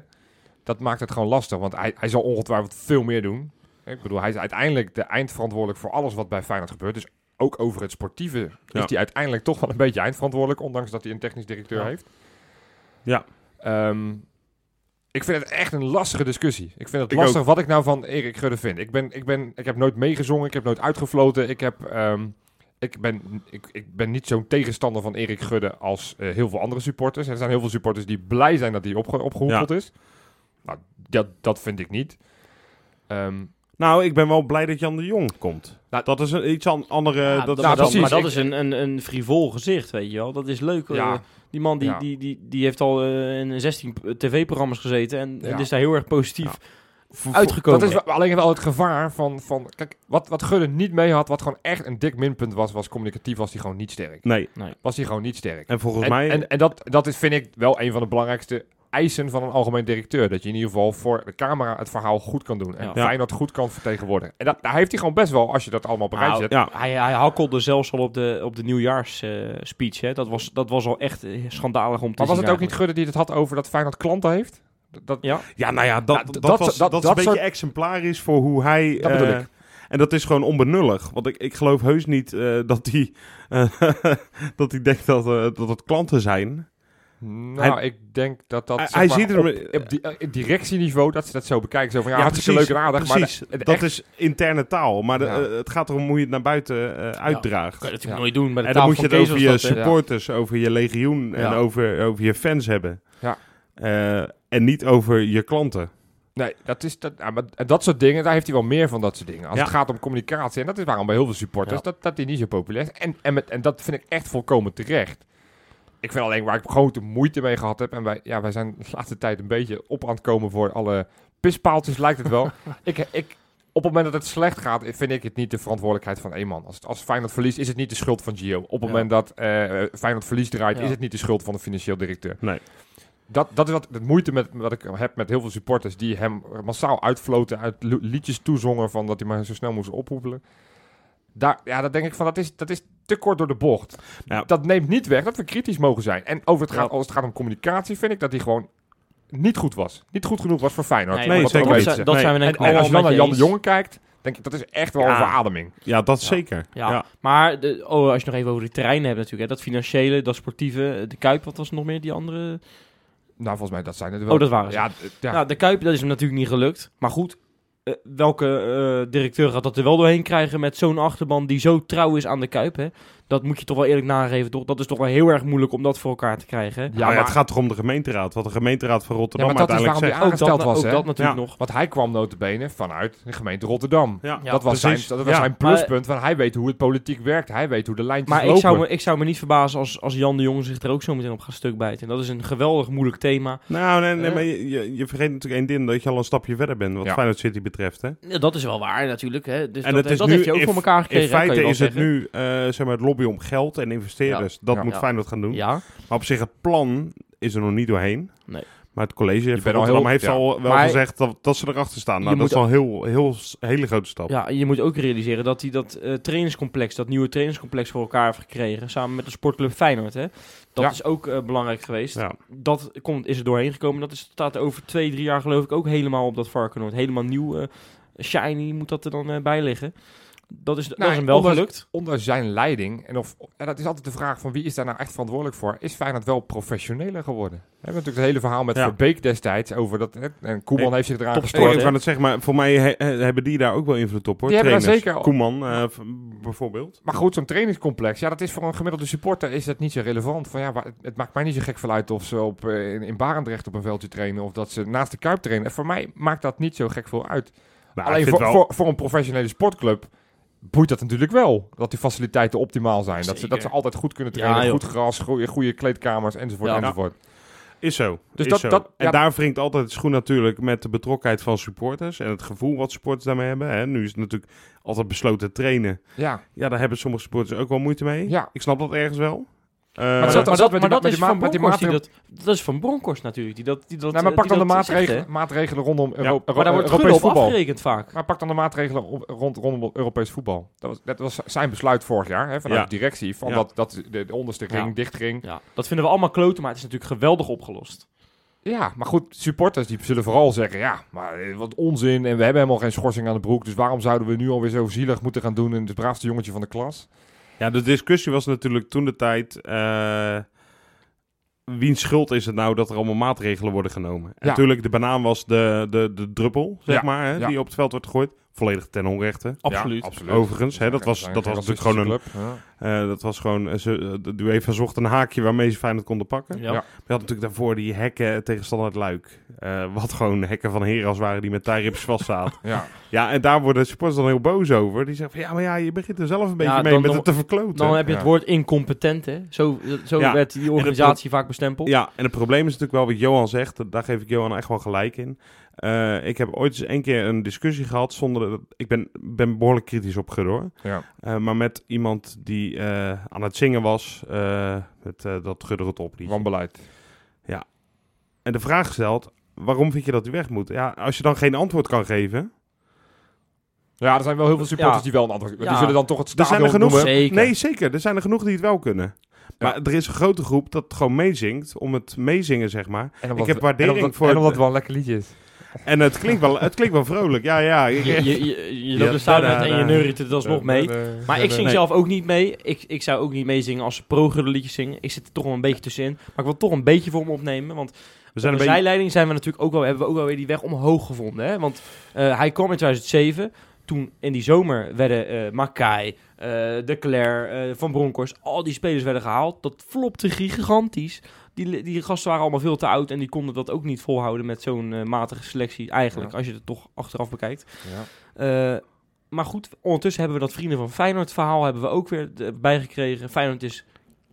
Speaker 3: dat maakt het gewoon lastig. Want hij, hij zal ongetwijfeld veel meer doen. Ik bedoel, hij is uiteindelijk de eindverantwoordelijk voor alles wat bij Feyenoord gebeurt. Dus ook over het sportieve
Speaker 1: Ja.
Speaker 3: is hij uiteindelijk toch wel een beetje eindverantwoordelijk. Ondanks dat hij een technisch directeur
Speaker 2: Ja.
Speaker 3: heeft.
Speaker 1: Ja.
Speaker 3: Ehm, ik vind het echt een lastige discussie. Ik vind het
Speaker 1: Ik
Speaker 3: lastig wat ik nou van Erik Gudde vind. Ik, ben, ik, ben, ik heb nooit meegezongen. Ik heb nooit uitgefloten. Ik, heb, ehm, ik, ben, ik, ik ben niet zo'n tegenstander van Erik Gudde als eh, heel veel andere supporters. Er zijn heel veel supporters die blij zijn dat hij opge opgehoepeld is. Nou, dat, dat vind ik niet. Ehm,
Speaker 1: Nou, ik ben wel blij dat Jan de Jong komt.
Speaker 3: Nou,
Speaker 1: dat is een iets an- andere...
Speaker 2: Ja,
Speaker 1: dat
Speaker 2: dat,
Speaker 1: is
Speaker 3: nou,
Speaker 1: een
Speaker 2: dat,
Speaker 3: precies.
Speaker 2: maar dat
Speaker 3: Ik-
Speaker 2: is een, een, een frivol gezicht, weet je wel. Dat is leuk.
Speaker 3: Ja.
Speaker 2: eh, die man die,
Speaker 3: Ja.
Speaker 2: die, die, die heeft al eh, in 16 p- tv-programma's gezeten en, en
Speaker 3: Ja.
Speaker 2: is daar heel erg positief
Speaker 1: Ja.
Speaker 3: voor-
Speaker 2: uitgekomen.
Speaker 3: Dat is wel- alleen wel het gevaar van... van kijk, wat, wat Gudde niet mee had, wat gewoon echt een dik minpunt was, was communicatief, was hij gewoon niet sterk.
Speaker 1: Nee,
Speaker 3: Was hij gewoon niet sterk.
Speaker 1: en volgens
Speaker 3: En,
Speaker 1: mij...
Speaker 3: en, en dat, dat is, vind ik wel een van de belangrijkste eisen van een algemeen directeur. Dat je in ieder geval voor de camera het verhaal goed kan doen. En
Speaker 2: Ja.
Speaker 3: Feyenoord goed kan vertegenwoordigen. En dat, daar heeft hij gewoon best wel, als je dat allemaal op een rijtje
Speaker 2: Nou,
Speaker 3: zet.
Speaker 1: ja,
Speaker 2: Hij, hij hakkelde zelfs al op de, op de nieuwjaarsspeech. eh, hè. dat, was, dat was al echt eh, schandalig om te
Speaker 3: Maar was
Speaker 2: zien
Speaker 3: het ook niet Gudde die het had over dat Feyenoord klanten heeft? Dat, dat-
Speaker 2: eigenlijk. Ja,
Speaker 1: ja, nou ja, dat,
Speaker 3: Nou, d-
Speaker 1: dat,
Speaker 3: dat-
Speaker 1: was,
Speaker 3: dat-
Speaker 1: dat, is
Speaker 3: dat
Speaker 1: een beetje exemplarisch voor hoe hij...
Speaker 3: Dat bedoel
Speaker 1: eh,
Speaker 3: ik.
Speaker 1: En dat is gewoon onbenullig. Want ik, ik geloof heus niet eh, dat hij eh, dat hij denkt dat, eh, dat het klanten zijn.
Speaker 3: nou,
Speaker 1: Hij-
Speaker 3: ik denk dat dat...
Speaker 1: Hij-
Speaker 3: zeg
Speaker 1: hij
Speaker 3: maar,
Speaker 1: ziet er
Speaker 3: op,
Speaker 1: met-
Speaker 3: op di- eh, directieniveau, dat ze dat zo bekijken. Zo van, ja,
Speaker 1: Ja,
Speaker 3: hartstikke
Speaker 1: precies,
Speaker 3: leuk en aardig.
Speaker 1: Precies,
Speaker 3: Maar de- het
Speaker 1: dat
Speaker 3: echt-
Speaker 1: is interne taal. Maar de-
Speaker 3: Ja.
Speaker 1: eh, het gaat erom hoe je het naar buiten eh, uitdraagt.
Speaker 2: kan je natuurlijk
Speaker 3: Ja.
Speaker 2: nooit doen. Bij de
Speaker 1: en dan
Speaker 2: tafel
Speaker 1: moet je het
Speaker 2: van
Speaker 1: over je
Speaker 2: Kees was
Speaker 3: eh,
Speaker 2: dat, hè.
Speaker 1: supporters, over je legioen en
Speaker 2: Ja.
Speaker 1: over, over je fans hebben.
Speaker 3: Ja.
Speaker 1: Eh, en niet over je klanten.
Speaker 3: Nee, dat is dat, ja, maar dat soort dingen, daar heeft hij wel meer van dat soort dingen. Als
Speaker 1: Ja.
Speaker 3: het gaat om communicatie, en dat is waarom bij heel veel supporters,
Speaker 2: Ja.
Speaker 3: dat, dat die niet zo populair is. En, en, met, en dat vind ik echt volkomen terecht. Ik vind alleen waar ik grote moeite mee gehad heb, en wij, ja, wij zijn de laatste tijd een beetje op aan het komen voor alle pispaaltjes, lijkt het wel. ik, ik, op het moment dat het slecht gaat, vind ik het niet de verantwoordelijkheid van één man. Als, het- als Feyenoord verliest, is het niet de schuld van Gio. Op het
Speaker 2: Ja.
Speaker 3: moment dat eh Feyenoord verlies draait,
Speaker 2: Ja.
Speaker 3: is het niet de schuld van de financieel directeur.
Speaker 1: Nee.
Speaker 3: Dat, dat is wat het moeite met wat ik heb met heel veel supporters die hem massaal uitfloten, uit lo- liedjes toezongen van dat hij maar zo snel moest ophoepelen. Daar, ja, dat denk ik van, dat is, dat is te kort door de bocht.
Speaker 1: Ja.
Speaker 3: Dat neemt niet weg dat we kritisch mogen zijn. En over het gaat,
Speaker 2: Ja.
Speaker 3: als het gaat om communicatie, vind ik dat hij gewoon niet goed was. Niet goed genoeg Nou, was voor Feyenoord.
Speaker 2: Nee,
Speaker 3: om
Speaker 1: nee,
Speaker 3: wat
Speaker 2: dat,
Speaker 1: zeker
Speaker 3: erover
Speaker 2: dat
Speaker 3: te
Speaker 1: niet.
Speaker 2: zijn-
Speaker 3: zeggen.
Speaker 2: dat zijn
Speaker 1: Nee,
Speaker 2: we denk ik
Speaker 1: en
Speaker 3: En
Speaker 2: allemaal
Speaker 3: als je
Speaker 2: met
Speaker 3: dan naar Jan
Speaker 2: je
Speaker 3: de
Speaker 2: eens.
Speaker 3: Jonge kijkt, denk ik, dat is echt wel
Speaker 1: Ja.
Speaker 3: een verademing.
Speaker 1: Ja, dat
Speaker 3: Ja.
Speaker 1: zeker.
Speaker 2: Ja,
Speaker 1: Ja. Nou
Speaker 2: maar de, oh, als je nog even over de terreinen hebt natuurlijk. Hè, dat financiële, dat sportieve. De Kuip, wat was er nog meer? Die andere...
Speaker 3: Nou, volgens mij, dat zijn het wel.
Speaker 2: Oh, dat waren ze.
Speaker 3: Ja, d- ja.
Speaker 2: Nou, de Kuip, dat is hem natuurlijk niet gelukt. Maar goed, eh, welke eh, directeur gaat dat er wel doorheen krijgen met zo'n achterban die zo trouw is aan de Kuip? Hè? Dat moet je toch wel eerlijk nageven, toch? Dat is toch wel heel erg moeilijk om dat voor elkaar te krijgen. hè?
Speaker 1: Ja, maar, het gaat toch om de gemeenteraad. Wat de gemeenteraad van Rotterdam
Speaker 3: Ja, maar dat is
Speaker 1: uiteindelijk
Speaker 3: waarom
Speaker 1: zegt.
Speaker 3: die aangesteld
Speaker 2: dat,
Speaker 3: was,
Speaker 2: ook
Speaker 3: hè?
Speaker 2: dat natuurlijk
Speaker 1: Ja.
Speaker 2: nog.
Speaker 3: Want hij kwam notabene vanuit de gemeente Rotterdam.
Speaker 1: Ja.
Speaker 2: Ja,
Speaker 3: dat was, zijn,
Speaker 1: precies.
Speaker 3: dat was
Speaker 1: Ja.
Speaker 3: zijn pluspunt, want hij weet hoe het politiek werkt. Hij weet hoe de lijntjes
Speaker 2: Maar ik
Speaker 3: lopen.
Speaker 2: zou, me, ik zou me niet verbazen als, als Jan de Jong zich er ook zo meteen op gaat stuk bijten. Dat is een geweldig moeilijk thema.
Speaker 1: Nou, nee, nee,
Speaker 2: Eh.
Speaker 1: maar je, je, je vergeet natuurlijk één ding. Dat je al een stapje verder bent, wat
Speaker 3: Ja.
Speaker 1: Feyenoord City betreft. Hè?
Speaker 2: Ja, dat is wel waar natuurlijk. Hè? Dus
Speaker 1: En
Speaker 2: dat
Speaker 1: het is
Speaker 2: dat
Speaker 1: nu
Speaker 2: heeft je ook
Speaker 1: in-
Speaker 2: voor elkaar gekregen.
Speaker 1: In
Speaker 2: hè, kan
Speaker 1: feite
Speaker 2: je wel
Speaker 1: is het
Speaker 2: zeggen.
Speaker 1: nu eh, zeg maar het lobby om geld en investeerders. Dat
Speaker 3: Ja.
Speaker 1: moet
Speaker 2: Ja.
Speaker 1: Feyenoord gaan doen.
Speaker 2: Ja,
Speaker 1: Maar op zich, het plan is er nog niet doorheen.
Speaker 2: Nee.
Speaker 1: Maar het college
Speaker 3: bent
Speaker 1: van
Speaker 3: al
Speaker 1: Rotterdam
Speaker 3: heel-
Speaker 1: heeft
Speaker 3: ja.
Speaker 1: al wel
Speaker 2: Maar-
Speaker 1: gezegd dat, dat ze erachter staan. Nou,
Speaker 2: Je
Speaker 1: dat
Speaker 2: moet
Speaker 1: is al heel, heel, s- hele grote stap.
Speaker 2: ja, je moet ook realiseren dat hij dat eh, trainingscomplex, dat nieuwe trainingscomplex voor elkaar heeft gekregen. Samen met de sportclub Feyenoord. Hè? Dat
Speaker 3: Ja.
Speaker 2: is ook eh, belangrijk geweest.
Speaker 1: Ja.
Speaker 2: dat komt, is er doorheen gekomen. Dat is, staat over twee, drie jaar geloof ik ook helemaal op dat varkenoord. Helemaal nieuw, eh, shiny moet dat er dan eh, bij liggen. Dat is, dat
Speaker 3: Nou,
Speaker 2: is hem wel
Speaker 3: ondanks-
Speaker 2: gelukt.
Speaker 3: Onder zijn leiding, en, of, en dat is altijd de vraag van wie is daar nou echt verantwoordelijk voor, is Feyenoord wel professioneler geworden? We hebben natuurlijk het hele verhaal met
Speaker 1: Ja.
Speaker 3: Verbeek destijds over dat... hè, En Koeman
Speaker 1: Hey,
Speaker 3: heeft zich eraan
Speaker 1: Ik
Speaker 2: Sport,
Speaker 1: wou
Speaker 3: gestoord.
Speaker 2: hè?
Speaker 1: net zeggen, maar voor mij he- he- hebben die daar ook wel invloed op hoor.
Speaker 3: Die hebben daar
Speaker 1: Trainers.
Speaker 3: zeker-
Speaker 1: Koeman eh, v- bijvoorbeeld.
Speaker 3: Maar goed, zo'n trainingscomplex, ja, dat is voor een gemiddelde supporter is dat niet zo relevant. Van, ja, waar- het, het maakt mij niet zo gek veel uit of ze op, eh, in, in Barendrecht op een veldje trainen of dat ze naast de Kuip trainen. En voor mij maakt dat niet zo gek veel uit.
Speaker 1: Nou, ik
Speaker 3: Alleen
Speaker 1: vind
Speaker 3: voor,
Speaker 1: wel-
Speaker 3: voor, voor een professionele sportclub boeit dat natuurlijk wel. Dat die faciliteiten optimaal zijn. Dat ze,
Speaker 2: Zeker.
Speaker 3: dat ze altijd goed kunnen
Speaker 2: Ja,
Speaker 3: trainen.
Speaker 2: joh.
Speaker 3: goed gras, goede, goede kleedkamers enzovoort.
Speaker 2: Ja.
Speaker 3: enzovoort.
Speaker 1: Is zo.
Speaker 3: Dus
Speaker 1: is
Speaker 3: dat-
Speaker 1: zo.
Speaker 3: dat-
Speaker 1: en
Speaker 3: ja.
Speaker 1: daar wringt altijd het schoen natuurlijk met de betrokkenheid van supporters. En het gevoel wat supporters daarmee hebben. Hè. Nu is het natuurlijk altijd besloten trainen.
Speaker 3: Ja.
Speaker 1: Ja, daar hebben sommige supporters ook wel moeite mee.
Speaker 3: Ja.
Speaker 1: Ik snap dat ergens wel. Eh,
Speaker 3: het zat-
Speaker 2: Maar
Speaker 3: met
Speaker 2: dat- maar
Speaker 3: die ma-
Speaker 2: dat
Speaker 3: met die
Speaker 2: is
Speaker 3: ma-
Speaker 2: van
Speaker 3: met die
Speaker 2: Bronkhorst die dat- dat is van Bronkhorst natuurlijk. Die dat, die dat,
Speaker 3: Nou, maar
Speaker 2: eh,
Speaker 3: pak dan
Speaker 2: die
Speaker 3: de
Speaker 2: dat zegt,
Speaker 3: maatregelen,
Speaker 2: hè.
Speaker 3: maatregelen rondom Euro- Euro-
Speaker 2: maar daar wordt Gullit
Speaker 3: Europees
Speaker 2: op
Speaker 3: voetbal.
Speaker 2: afgerekend vaak.
Speaker 3: Maar pak dan de maatregelen op- rond, rondom Europees voetbal. Dat was, dat was zijn besluit vorig jaar hè, vanuit
Speaker 1: Ja.
Speaker 3: de directie. Van
Speaker 1: Ja.
Speaker 3: dat, dat de, de onderste ring
Speaker 2: Ja.
Speaker 3: dichtging.
Speaker 2: Ja, dat vinden we allemaal kloten, maar het is natuurlijk geweldig opgelost.
Speaker 3: Ja, maar goed, supporters die zullen vooral zeggen, ja, maar eh, wat onzin en we hebben helemaal geen schorsing aan de broek, dus waarom zouden we nu alweer zo zielig moeten gaan doen in het braafste jongetje van de klas?
Speaker 1: Ja, de discussie was natuurlijk toen de tijd. eh, wiens schuld is het nou dat er allemaal maatregelen worden genomen? En
Speaker 3: Ja.
Speaker 1: Natuurlijk, de banaan was de, de, de druppel, zeg
Speaker 3: Ja,
Speaker 1: maar, hè,
Speaker 3: ja.
Speaker 1: die op het veld werd gegooid. Volledig ten onrechte.
Speaker 2: Absoluut.
Speaker 3: Ja, absoluut.
Speaker 1: Overigens, hè, dat was, dat was natuurlijk gewoon een.
Speaker 3: Club, ja.
Speaker 1: eh, dat was gewoon. eh, ze, eh, de UEFA zocht een haakje waarmee ze Feyenoord konden pakken.
Speaker 2: Ja.
Speaker 3: Ja.
Speaker 1: We hadden natuurlijk daarvoor die hekken tegen Standard Luik. eh, wat gewoon hekken van Heras waren die met tijrips vast zaten.
Speaker 3: Ja.
Speaker 1: ja, en daar worden supporters dan heel boos over. Die zeggen van ja, maar ja, je begint er zelf een beetje
Speaker 2: Ja,
Speaker 1: mee
Speaker 2: dan-
Speaker 1: met
Speaker 2: dan-
Speaker 1: het te verkloten.
Speaker 2: Dan heb je het
Speaker 3: Ja.
Speaker 2: woord incompetent, hè? Zo, zo
Speaker 1: Ja.
Speaker 2: werd die organisatie vaak bestempeld.
Speaker 1: Ja, en het probleem is natuurlijk wel wat Johan zegt. Daar geef ik Johan echt wel gelijk in. Eh, ik heb ooit eens één keer een discussie gehad zonder... dat- ik ben, ben behoorlijk kritisch op Gudde, hoor.
Speaker 3: Ja.
Speaker 1: Eh, maar met iemand die eh, aan het zingen was eh, met eh, dat Gudde het op.
Speaker 3: Wanbeleid.
Speaker 1: En de vraag gesteld, waarom vind je dat hij weg moet? Ja, als je dan geen antwoord kan geven...
Speaker 3: Ja, er zijn wel heel veel supporters
Speaker 2: Ja.
Speaker 3: die wel een andere... Die
Speaker 2: Ja.
Speaker 3: zullen dan toch het
Speaker 1: Er
Speaker 3: stadion
Speaker 1: zijn er genoeg...
Speaker 3: noemen.
Speaker 2: Zeker.
Speaker 1: Nee, zeker. Er zijn er genoeg die het wel kunnen. Maar er is een grote groep dat gewoon meezingt om het meezingen, zeg maar.
Speaker 3: En
Speaker 1: Ik heb waardering
Speaker 3: en omdat,
Speaker 1: voor
Speaker 3: En
Speaker 1: het-
Speaker 3: omdat het wel een lekker liedje is.
Speaker 1: En het klinkt wel, het klinkt wel vrolijk. Ja, ja.
Speaker 2: Je, je, je, je
Speaker 1: Ja,
Speaker 2: loopt er staan
Speaker 1: da, da,
Speaker 2: en je
Speaker 1: da.
Speaker 2: neuriet het alsnog mee.
Speaker 3: eh,
Speaker 2: Maar ik zing
Speaker 1: Nee.
Speaker 2: zelf ook niet mee. Ik, ik zou ook niet meezingen als ze pro-gudde liedjes zingen. Ik zit er toch wel een beetje tussenin. Maar ik wil toch een beetje voor me opnemen. Want
Speaker 1: We
Speaker 2: aan
Speaker 1: zijn
Speaker 2: de
Speaker 1: een beetje...
Speaker 2: zijleiding zijn we natuurlijk ook wel, hebben we ook wel weer die weg omhoog gevonden. Hè? Want eh, hij kwam in 2007. Toen in die zomer werden eh Makai, eh, De Cler, eh, Van Bronckhorst, al die spelers werden gehaald. Dat flopte gigantisch. Die, die gasten waren allemaal veel te oud en die konden dat ook niet volhouden met zo'n eh, matige selectie eigenlijk.
Speaker 3: Ja.
Speaker 2: Als je het toch achteraf bekijkt.
Speaker 3: Ja.
Speaker 2: Eh, maar goed, ondertussen hebben we dat Vrienden van Feyenoord verhaal hebben we ook weer eh, bijgekregen. Feyenoord is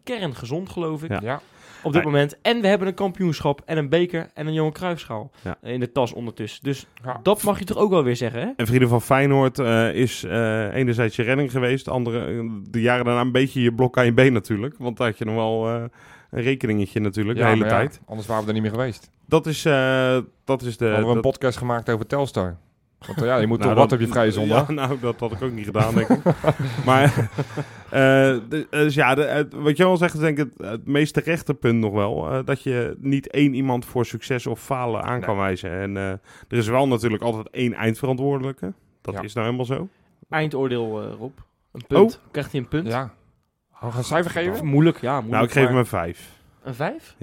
Speaker 2: kerngezond, geloof ik,
Speaker 1: Ja.
Speaker 3: Ja.
Speaker 2: op dit
Speaker 1: Ja.
Speaker 2: moment. En we hebben een kampioenschap en een beker en een Johan Cruijffschaal
Speaker 1: Ja.
Speaker 2: in de tas ondertussen. Dus
Speaker 3: Ja.
Speaker 2: dat mag je toch ook wel weer zeggen, hè?
Speaker 1: En Vrienden van Feyenoord eh, is eh, enerzijds je redding geweest, andere, eh, de jaren daarna een beetje je blok aan je been natuurlijk. Want daar had je nog wel eh, een rekeningetje natuurlijk
Speaker 3: Ja,
Speaker 1: de hele
Speaker 3: maar ja,
Speaker 1: tijd.
Speaker 3: Anders waren we er niet meer geweest.
Speaker 1: Dat is, eh, dat is de...
Speaker 3: hadden we een
Speaker 1: dat-
Speaker 3: podcast gemaakt over Telstar. Want eh, ja, je moet
Speaker 1: nou,
Speaker 3: toch wat
Speaker 1: dat-
Speaker 3: op je vrije zondag.
Speaker 1: Ja, nou, dat had ik ook niet gedaan, denk ik. maar, eh, de- dus ja, de, het- wat Johan zegt is denk ik het, het meest terechte punt nog wel. eh, dat je niet één iemand voor succes of falen aan kan wijzen. En eh, er is wel natuurlijk altijd één eindverantwoordelijke. Dat
Speaker 3: Ja.
Speaker 1: is nou helemaal zo.
Speaker 2: Eindoordeel, eh, Rob. Een punt.
Speaker 1: Oh.
Speaker 2: Krijgt hij een punt?
Speaker 3: Ja. Gaan we een cijfer
Speaker 2: Of
Speaker 3: geven?
Speaker 2: Moeilijk, ja. Moeilijk,
Speaker 1: Nou, ik geef
Speaker 2: maar-
Speaker 1: hem een vijf.
Speaker 2: Een vijf?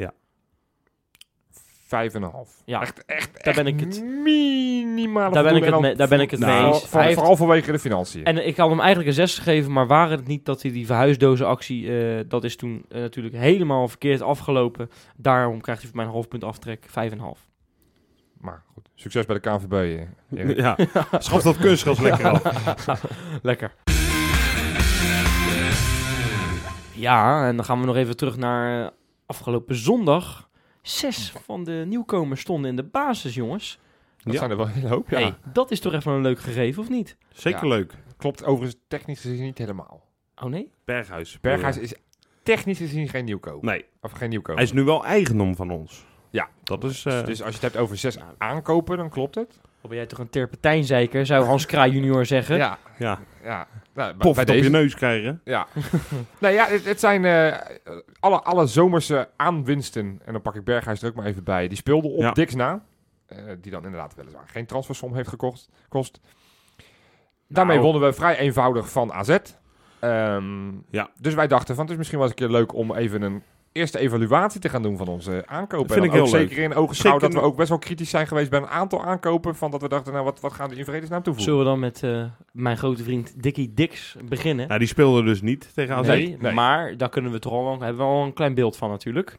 Speaker 3: Vijf en een half.
Speaker 2: Ja.
Speaker 3: Echt, echt,
Speaker 2: Daar ben
Speaker 3: echt
Speaker 2: ik het-
Speaker 3: Minimale
Speaker 2: Daar ben ik
Speaker 3: voldoening.
Speaker 2: het
Speaker 3: En
Speaker 2: mee-
Speaker 3: dan
Speaker 2: daar ben ik het
Speaker 3: vo-
Speaker 1: mee
Speaker 3: vooral-
Speaker 1: eens.
Speaker 3: voor-
Speaker 2: Hij heeft-
Speaker 3: Vooral vanwege de financiën.
Speaker 2: En eh, ik had hem eigenlijk een 6 gegeven, maar waren het niet dat hij die verhuisdozenactie, eh, dat is toen eh, natuurlijk helemaal verkeerd afgelopen. Daarom krijgt hij voor mij een half punt aftrek, 5,5.
Speaker 3: Maar goed, succes bij de KNVB. eh, Erik.
Speaker 1: Ja, schaf dat kunstgras lekker af.
Speaker 2: Lekker. Ja, en dan gaan we nog even terug naar eh, afgelopen zondag. Zes van de nieuwkomers stonden in de basis, jongens.
Speaker 3: Dat
Speaker 1: Ja.
Speaker 3: zijn er wel een hele hoop, ja.
Speaker 2: Hey, dat is toch even een leuk gegeven, of niet?
Speaker 1: Zeker
Speaker 3: Ja.
Speaker 1: leuk.
Speaker 3: Klopt overigens technisch gezien niet helemaal.
Speaker 2: Oh nee?
Speaker 1: Berghuis.
Speaker 3: Berghuis is technisch gezien geen nieuwkoop.
Speaker 1: Nee,
Speaker 3: Of geen nieuwkoop.
Speaker 1: hij is nu wel eigendom van ons.
Speaker 3: Ja.
Speaker 1: Dat is... eh,
Speaker 3: Dus als je het hebt over zes aankopen, dan klopt het.
Speaker 2: Dan ben jij toch een terpentijnzeiker, zou Hans Kraai junior zeggen.
Speaker 3: Ja.
Speaker 1: ja,
Speaker 3: ja. Nou,
Speaker 1: pof het op
Speaker 3: deze-
Speaker 1: je neus krijgen.
Speaker 3: Ja. nou ja, het, het zijn eh, alle, alle zomerse aanwinsten. En dan pak ik Berghuis er ook maar even bij. Die speelde op
Speaker 1: Ja.
Speaker 3: Dix na. Eh, die dan inderdaad weliswaar geen transfersom heeft gekost. Kost.
Speaker 1: Nou.
Speaker 3: Daarmee wonnen we vrij eenvoudig van AZ. Ehm,
Speaker 1: Ja.
Speaker 3: Dus wij dachten van het is misschien wel eens een keer leuk om even een eerste evaluatie te gaan doen van onze aankopen.
Speaker 1: Dat vind
Speaker 3: En dan
Speaker 1: ik
Speaker 3: ook
Speaker 1: heel
Speaker 3: zeker in ogen schouw dat
Speaker 1: Zeker
Speaker 3: we ook best wel kritisch zijn geweest bij een aantal aankopen. Van dat we dachten, nou wat, wat gaan we in vredesnaam toevoegen?
Speaker 2: Zullen we dan met eh, mijn grote vriend Dickie Dix beginnen?
Speaker 1: Nou, die speelde dus niet tegen AZ.
Speaker 2: Nee,
Speaker 3: nee, nee.
Speaker 2: maar daar kunnen we toch al, hebben we al een klein beeld van natuurlijk.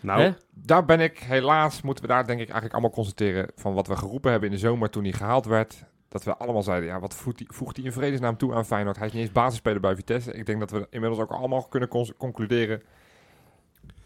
Speaker 1: Nou,
Speaker 2: Hè?
Speaker 3: Daar ben ik helaas, moeten we daar denk ik eigenlijk allemaal constateren van wat we geroepen hebben in de zomer toen hij gehaald werd. Dat we allemaal zeiden, ja, wat voegt hij, voegt hij in vredesnaam toe aan Feyenoord? Hij is niet eens basisspeler bij Vitesse. Ik denk dat we inmiddels ook allemaal kunnen cons- concluderen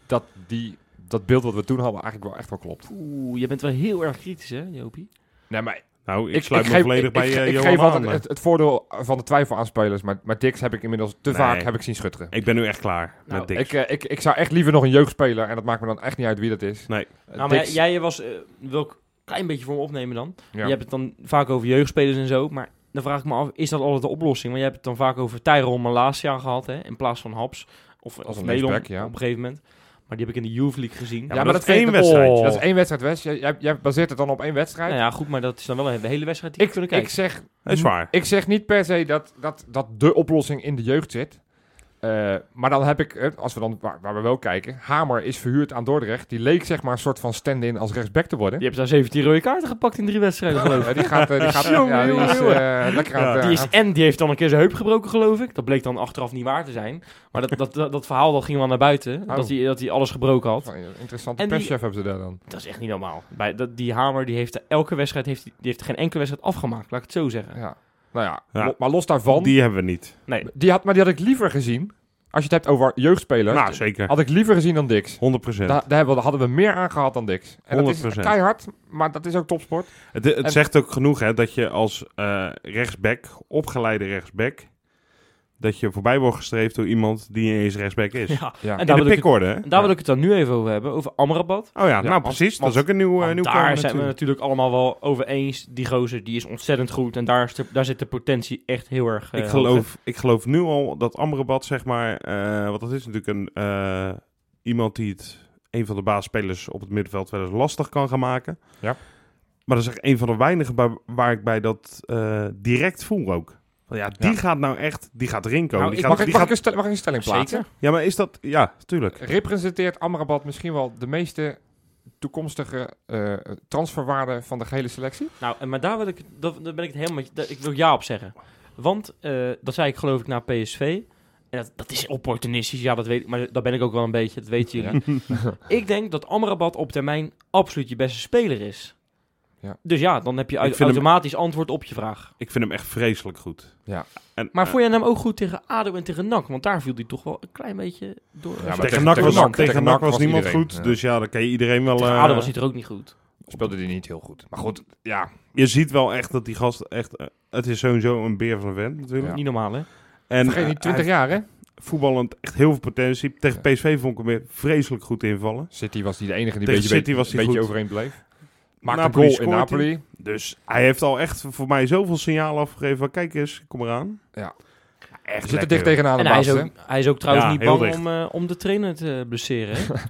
Speaker 3: dat die, dat beeld wat we toen hadden eigenlijk wel echt wel klopt.
Speaker 2: Oeh, je bent wel heel erg kritisch hè, Jopie?
Speaker 3: Nee, maar
Speaker 1: nou ik,
Speaker 3: ik,
Speaker 1: sluit
Speaker 3: ik
Speaker 1: me
Speaker 3: geef-
Speaker 1: volledig
Speaker 3: ik-
Speaker 1: bij
Speaker 3: ik,
Speaker 1: eh,
Speaker 3: ik
Speaker 1: Johan
Speaker 3: geef altijd
Speaker 1: aan.
Speaker 3: het, het voordeel van de twijfel aan spelers, maar, maar Dix heb ik inmiddels te
Speaker 1: Nee.
Speaker 3: vaak heb ik zien schutteren.
Speaker 1: Ik ben nu echt klaar
Speaker 2: Nou,
Speaker 1: met Dick.
Speaker 3: Ik, eh, ik, ik zou echt liever nog een jeugdspeler, en dat maakt me dan echt niet uit wie dat is.
Speaker 1: Nee.
Speaker 3: Eh,
Speaker 2: Nou, maar jij,
Speaker 3: Dix-
Speaker 2: jij was, eh, wil ik een klein beetje voor me opnemen dan.
Speaker 3: ja.
Speaker 2: Je hebt het dan vaak over jeugdspelers en zo, maar dan vraag ik me af, is dat altijd de oplossing? Want je hebt het dan vaak over Tyrone Malasia gehad hè, in plaats van Haps. Of,
Speaker 3: Als
Speaker 2: of
Speaker 3: een
Speaker 2: Nelom
Speaker 3: linksback, ja.
Speaker 2: op een gegeven moment. Maar Maar die heb ik in de Youth League gezien.
Speaker 1: Ja,
Speaker 2: Ja,
Speaker 1: maar dat is
Speaker 3: vind
Speaker 1: één
Speaker 3: ik-
Speaker 1: wedstrijdje.
Speaker 3: Dat is één wedstrijd West. Jij, jij- jij baseert het dan op één wedstrijd.
Speaker 2: nou ja, goed, maar dat is dan wel een hele wedstrijd die ik
Speaker 3: ik,
Speaker 2: kunnen
Speaker 3: ik,
Speaker 2: kijken.
Speaker 3: zeg,
Speaker 1: Dat is waar.
Speaker 3: ik zeg niet per se dat, dat, dat de oplossing in de jeugd zit. Eh, maar dan heb ik, eh, als we dan waar, waar we wel kijken, Hamer is verhuurd aan Dordrecht. Die leek zeg maar een soort van stand-in als rechtsback te worden.
Speaker 2: Je hebt daar 17 rode kaarten gepakt in drie wedstrijden, geloof ik.
Speaker 3: Eh, die gaat, eh, die gaat
Speaker 2: Jongen,
Speaker 3: ja, die
Speaker 2: jongen,
Speaker 3: is, eh, lekker
Speaker 1: Ja.
Speaker 3: aan het, eh,
Speaker 2: Die is,
Speaker 3: aan-
Speaker 2: en die heeft dan een keer zijn heup gebroken, geloof ik. Dat bleek dan achteraf niet waar te zijn. Maar dat, dat, dat, dat verhaal dat ging wel naar buiten.
Speaker 3: Oh.
Speaker 2: Dat hij dat hij alles gebroken had.
Speaker 3: van een interessante
Speaker 2: En die-
Speaker 3: perschef hebben ze daar dan.
Speaker 2: Dat is echt niet normaal. Bij, dat, die Hamer die heeft elke wedstrijd heeft, die heeft geen enkele wedstrijd afgemaakt, laat ik het zo zeggen.
Speaker 3: Ja. Nou ja,
Speaker 1: Ja.
Speaker 3: lo- maar los daarvan. Die...
Speaker 1: Die hebben we niet.
Speaker 2: Nee,
Speaker 3: had, maar die had ik liever gezien. Als je het hebt over jeugdspelers.
Speaker 1: Nou, zeker. 100%.
Speaker 3: had Nou, ik liever gezien dan Dix. Daar, daar hebben we- daar hadden we meer aan gehad dan Dix. En dat is
Speaker 1: 100%.
Speaker 3: keihard, maar dat is ook topsport.
Speaker 1: Het, het
Speaker 3: En-
Speaker 1: zegt ook genoeg hè, dat je als eh, rechtsback, opgeleide rechtsback, dat je voorbij wordt gestreefd door iemand die niet eens rechtsback is.
Speaker 2: ja.
Speaker 3: Ja.
Speaker 2: En
Speaker 1: In de
Speaker 2: daar, wil ik, het-
Speaker 1: pikorde, hè?
Speaker 2: daar wil ik het dan nu even over hebben, over Amrabat.
Speaker 1: Oh ja, nou
Speaker 3: want-
Speaker 1: precies.
Speaker 3: want-
Speaker 1: dat is ook een nieuw, eh,
Speaker 2: Want
Speaker 1: nieuw
Speaker 2: daar
Speaker 1: kamer
Speaker 2: zijn we
Speaker 1: natuurlijk.
Speaker 2: natuurlijk allemaal wel over eens. Die gozer die is ontzettend goed en daar, is de- daar zit de potentie echt heel erg. eh,
Speaker 1: ik,
Speaker 2: hoog.
Speaker 1: geloof, ik geloof nu al dat Amrabat, zeg maar, eh want dat is natuurlijk een, eh, iemand die het een van de baasspelers op het middenveld wel eens lastig kan gaan maken.
Speaker 3: Ja.
Speaker 1: Maar dat is echt een van de weinigen waar, waar ik bij dat eh, direct voel ook. Van ja, die
Speaker 3: Ja.
Speaker 1: gaat nou echt, die gaat erin komen.
Speaker 2: Nou,
Speaker 1: die
Speaker 2: ik-
Speaker 1: gaat,
Speaker 3: Mag ik,
Speaker 1: die
Speaker 3: mag, ik
Speaker 1: gaat-
Speaker 3: een stel- mag ik een stelling plaatsen?
Speaker 2: Zeker.
Speaker 1: ja, maar is dat... Ja, tuurlijk.
Speaker 3: Representeert Amrabat misschien wel de meeste toekomstige eh transferwaarde van de gehele selectie?
Speaker 2: Nou, en maar daar, wil ik, het- dat, daar ben ik het helemaal met je- daar- Ik wil ja op zeggen. Want eh, dat zei ik geloof ik naar PSV. En dat, dat is opportunistisch, ja, dat weet ik. Maar dat ben ik ook wel een beetje, dat weten jullie. ik denk dat Amrabat op termijn absoluut je beste speler is.
Speaker 3: Ja.
Speaker 2: Dus ja, dan heb je
Speaker 1: Ik
Speaker 2: uit-
Speaker 1: vind hem-
Speaker 2: automatisch antwoord op je vraag.
Speaker 1: Ik vind hem echt vreselijk goed.
Speaker 3: Ja.
Speaker 1: En,
Speaker 2: Maar
Speaker 1: eh,
Speaker 2: vond jij hem ook goed tegen ADO en tegen NAC? Want daar viel hij toch wel een klein beetje door.
Speaker 3: Ja, maar
Speaker 1: tegen
Speaker 3: tegen-
Speaker 1: NAC
Speaker 3: tegen
Speaker 1: was,
Speaker 3: NAC-
Speaker 1: tegen
Speaker 3: tegen
Speaker 1: NAC
Speaker 3: NAC
Speaker 1: was niemand
Speaker 3: iedereen,
Speaker 1: goed.
Speaker 3: ja.
Speaker 1: Dus ja, dan kan je iedereen wel...
Speaker 2: tegen
Speaker 1: eh,
Speaker 2: ADO was hij er ook niet goed.
Speaker 3: Speelde die niet heel goed. Maar goed, ja.
Speaker 1: Je ziet wel echt dat die gast echt... eh, het is sowieso een beer van een vent natuurlijk.
Speaker 3: Ja.
Speaker 2: Niet normaal, hè?
Speaker 1: En
Speaker 3: Vergeet
Speaker 1: eh,
Speaker 3: niet,
Speaker 1: hij
Speaker 3: 20 jaar hè?
Speaker 1: voetballend echt heel veel potentie. Tegen PSV vond ik hem weer vreselijk goed invallen.
Speaker 3: City was die de enige die een
Speaker 1: Tegen
Speaker 3: beetje,
Speaker 1: City was
Speaker 3: een
Speaker 1: hij
Speaker 3: beetje
Speaker 1: goed.
Speaker 3: overeen bleef. Maakte een
Speaker 1: Napoli
Speaker 3: goal in
Speaker 1: scoort
Speaker 3: Napoli.
Speaker 1: Dus hij heeft al echt voor mij zoveel signalen afgegeven. Van, kijk eens, ik kom eraan.
Speaker 3: Ja.
Speaker 1: Echt
Speaker 3: We zitten
Speaker 1: lekker.
Speaker 3: dicht tegenaan de
Speaker 2: En hij
Speaker 3: baas.
Speaker 2: is, ook,
Speaker 3: hè?
Speaker 2: hij is ook trouwens
Speaker 1: Ja,
Speaker 2: niet
Speaker 1: heel
Speaker 2: bang
Speaker 1: dicht.
Speaker 2: om, eh, om de trainer te blesseren. hè? Heb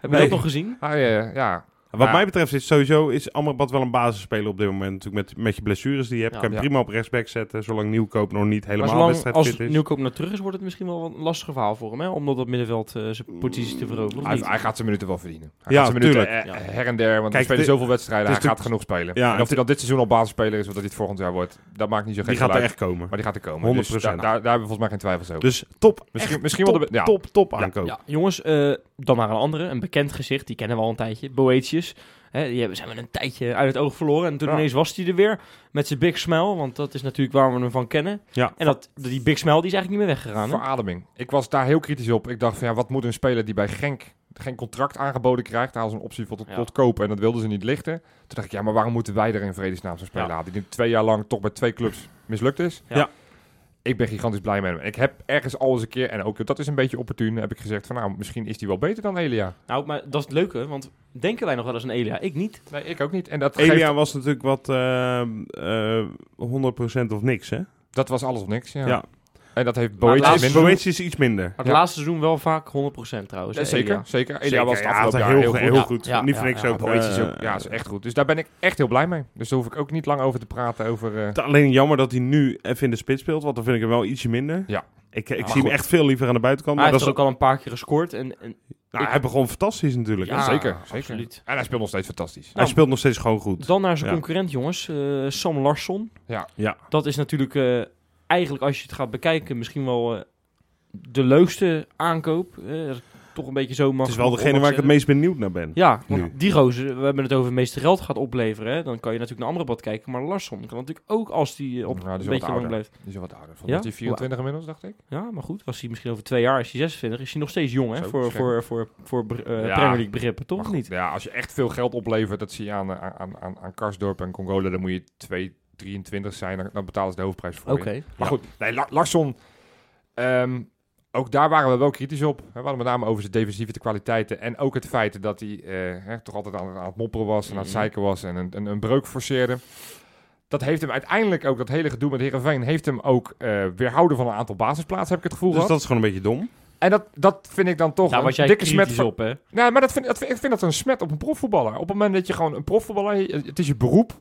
Speaker 2: je
Speaker 3: Nee.
Speaker 2: dat nog gezien?
Speaker 3: Hij, eh, ja,
Speaker 1: Wat
Speaker 3: Ja.
Speaker 1: mij betreft is sowieso is Amrabat wel een basisspeler op dit moment. Natuurlijk met, met je blessures die je hebt.
Speaker 2: Ja.
Speaker 1: kan je
Speaker 3: Ja.
Speaker 1: prima op rechtsback zetten. Zolang Nieuwkoop nog niet
Speaker 2: Maar
Speaker 1: helemaal
Speaker 2: zolang
Speaker 1: wedstrijd
Speaker 2: als
Speaker 1: fit is.
Speaker 2: Nieuwkoop naar terug is, wordt het misschien wel een lastig verhaal voor hem. Hè? Om dat op middenveld eh, zijn positie te veroveren. Of
Speaker 3: hij,
Speaker 2: niet?
Speaker 3: hij gaat zijn minuten wel verdienen. Hij
Speaker 1: Ja,
Speaker 3: gaat zijn minuten
Speaker 1: tuurlijk.
Speaker 3: eh,
Speaker 2: Ja.
Speaker 3: her en der, want
Speaker 1: Kijk,
Speaker 3: hij spelen
Speaker 1: dit-
Speaker 3: zoveel wedstrijden.
Speaker 1: het
Speaker 3: Hij
Speaker 1: is
Speaker 3: gaat genoeg spelen.
Speaker 1: Ja,
Speaker 3: en
Speaker 1: het-
Speaker 3: of hij dan dit seizoen al basisspeler is of dat hij het volgend jaar wordt, dat maakt niet zo gek
Speaker 1: die gaat er
Speaker 3: geluid.
Speaker 1: echt komen.
Speaker 3: Maar die gaat er komen.
Speaker 1: 100%.
Speaker 3: Dus daar, daar, daar hebben we volgens mij geen twijfels over.
Speaker 1: Dus top.
Speaker 3: misschien
Speaker 1: echt
Speaker 3: misschien
Speaker 1: top,
Speaker 3: wel de... be- Ja,
Speaker 1: top, top aankoop.
Speaker 2: Ja, jongens, eh, dan naar een andere. Een bekend gezicht, die kennen we al een tijdje. Boetius. Hè, die hebben, zijn we een tijdje uit het oog verloren. En toen
Speaker 1: Ja.
Speaker 2: ineens was hij er weer. Met zijn big smile, want dat is natuurlijk waar we hem van kennen.
Speaker 1: Ja.
Speaker 2: En dat, die big smile die is eigenlijk niet meer weggegaan. hè?
Speaker 3: Verademing. Ik was daar heel kritisch op. Ik dacht van ja, wat moet een speler die bij Genk geen contract aangeboden krijgt, daar als een optie voor tot,
Speaker 2: Ja.
Speaker 3: tot kopen en dat wilden ze niet lichten. Toen dacht ik ja, maar waarom moeten wij er in vredesnaam zo'n speler
Speaker 2: Ja.
Speaker 3: halen die twee jaar lang toch bij twee clubs mislukt is?
Speaker 2: Ja.
Speaker 1: Ja.
Speaker 3: Ik ben gigantisch blij met hem. Ik heb ergens al eens een keer en ook dat is een beetje opportun, heb ik gezegd van nou, misschien is die wel beter dan Elia.
Speaker 2: Nou, maar dat is het leuke, want denken wij nog wel eens aan Elia? Ik niet.
Speaker 3: Nee, ik ook niet. En dat geeft-
Speaker 1: Elia was natuurlijk wat eh, eh, 100% of niks, hè?
Speaker 3: dat was alles of niks. Ja.
Speaker 1: Ja.
Speaker 3: En dat heeft
Speaker 2: Maar
Speaker 3: Boetje
Speaker 2: laatst-
Speaker 3: minder.
Speaker 1: Boetius is iets minder.
Speaker 2: Maar
Speaker 3: Ja.
Speaker 2: het laatste seizoen wel vaak 100% trouwens.
Speaker 3: Ja,
Speaker 2: hè,
Speaker 3: zeker,
Speaker 2: Elia.
Speaker 3: zeker. Elia
Speaker 1: Zeker,
Speaker 3: was het
Speaker 1: ja,
Speaker 3: afgelopen
Speaker 1: hij
Speaker 3: jaar
Speaker 1: had heel,
Speaker 3: heel, goed.
Speaker 1: heel
Speaker 2: Ja,
Speaker 1: goed.
Speaker 2: ja,
Speaker 1: Niet
Speaker 2: ja,
Speaker 1: voor niks
Speaker 2: ja.
Speaker 1: ook.
Speaker 3: Boetjes is
Speaker 1: eh,
Speaker 3: ook, ja, is echt goed. Dus daar ben ik echt heel blij mee. Dus daar hoef ik ook niet lang over te praten. Over, eh,
Speaker 1: Het- Alleen jammer dat hij nu even in de spits speelt, want dan vind ik hem wel ietsje minder.
Speaker 3: Ja.
Speaker 1: Ik, ik
Speaker 3: Maar
Speaker 1: zie hem
Speaker 3: goed.
Speaker 1: echt veel liever aan de buitenkant.
Speaker 2: Maar
Speaker 1: Maar
Speaker 2: hij
Speaker 1: dat
Speaker 2: heeft
Speaker 1: is
Speaker 2: er ook al een paar keer gescoord. En, en,
Speaker 1: nou,
Speaker 2: ik-
Speaker 1: hij begon fantastisch natuurlijk.
Speaker 2: ja,
Speaker 3: zeker, zeker.
Speaker 2: absoluut.
Speaker 3: en hij speelt nog steeds fantastisch.
Speaker 1: Hij
Speaker 2: nou,
Speaker 1: speelt nog steeds gewoon goed.
Speaker 2: Dan naar zijn
Speaker 1: Ja.
Speaker 2: concurrent, jongens. eh, Sam Larsson.
Speaker 3: Ja.
Speaker 1: Ja.
Speaker 2: Dat is natuurlijk eh, eigenlijk, als je het gaat bekijken, misschien wel eh, de leukste aankoop. eh, als ik toch een beetje zo mag.
Speaker 1: Het is wel degene waar ik het meest benieuwd naar ben.
Speaker 2: Ja, want
Speaker 1: Nu.
Speaker 2: die gozer, we hebben het over het meeste geld gaat opleveren. Hè? Dan kan je natuurlijk naar andere bad kijken. Maar Larsson kan natuurlijk ook, als die eh, op
Speaker 3: Ja, die is
Speaker 2: een
Speaker 3: wat
Speaker 2: beetje lang
Speaker 3: ouder.
Speaker 2: blijft.
Speaker 3: Die is al wat ouder.
Speaker 2: Ja?
Speaker 3: Volgens die 24 inmiddels, dacht ik.
Speaker 2: Ja, maar goed, was hij misschien over twee jaar, is hij 26, is hij nog steeds jong hè?
Speaker 3: Zo,
Speaker 2: voor,
Speaker 3: scherp.
Speaker 2: voor, voor, voor eh,
Speaker 3: Ja.
Speaker 2: Premier League begrippen, toch?
Speaker 3: Maar
Speaker 2: Of
Speaker 3: goed,
Speaker 2: niet?
Speaker 3: Ja, als je echt veel geld oplevert, dat zie je aan, eh, aan, aan, aan, aan Karsdorp en Congola. Dan moet je 2, 23 zijn. Dan, dan betalen ze de hoofdprijs voor
Speaker 2: Oké.
Speaker 3: je. Maar goed, nee, La- Larsson... ehm, ook daar waren we wel kritisch op. Hè, We hadden met name over zijn defensieve kwaliteiten. En ook het feit dat hij eh, hè, toch altijd aan, aan het mopperen was. En aan het
Speaker 2: Mhm.
Speaker 3: zeiken was. En een, een, een breuk forceerde. Dat heeft hem uiteindelijk ook, dat hele gedoe met Heerenveen... heeft hem ook eh, weerhouden van een aantal basisplaatsen, heb ik het gevoel
Speaker 1: Dus
Speaker 3: gehad.
Speaker 1: dat is gewoon een beetje dom.
Speaker 3: En dat, dat vind ik dan toch
Speaker 2: Daar Nou,
Speaker 3: een
Speaker 2: was jij
Speaker 3: dikke smet
Speaker 2: kritisch
Speaker 3: van-
Speaker 2: op, hè?
Speaker 3: Nee, maar dat vind, dat vind- ik vind dat een smet op een profvoetballer. Op het moment dat je gewoon een profvoetballer... Het is je beroep.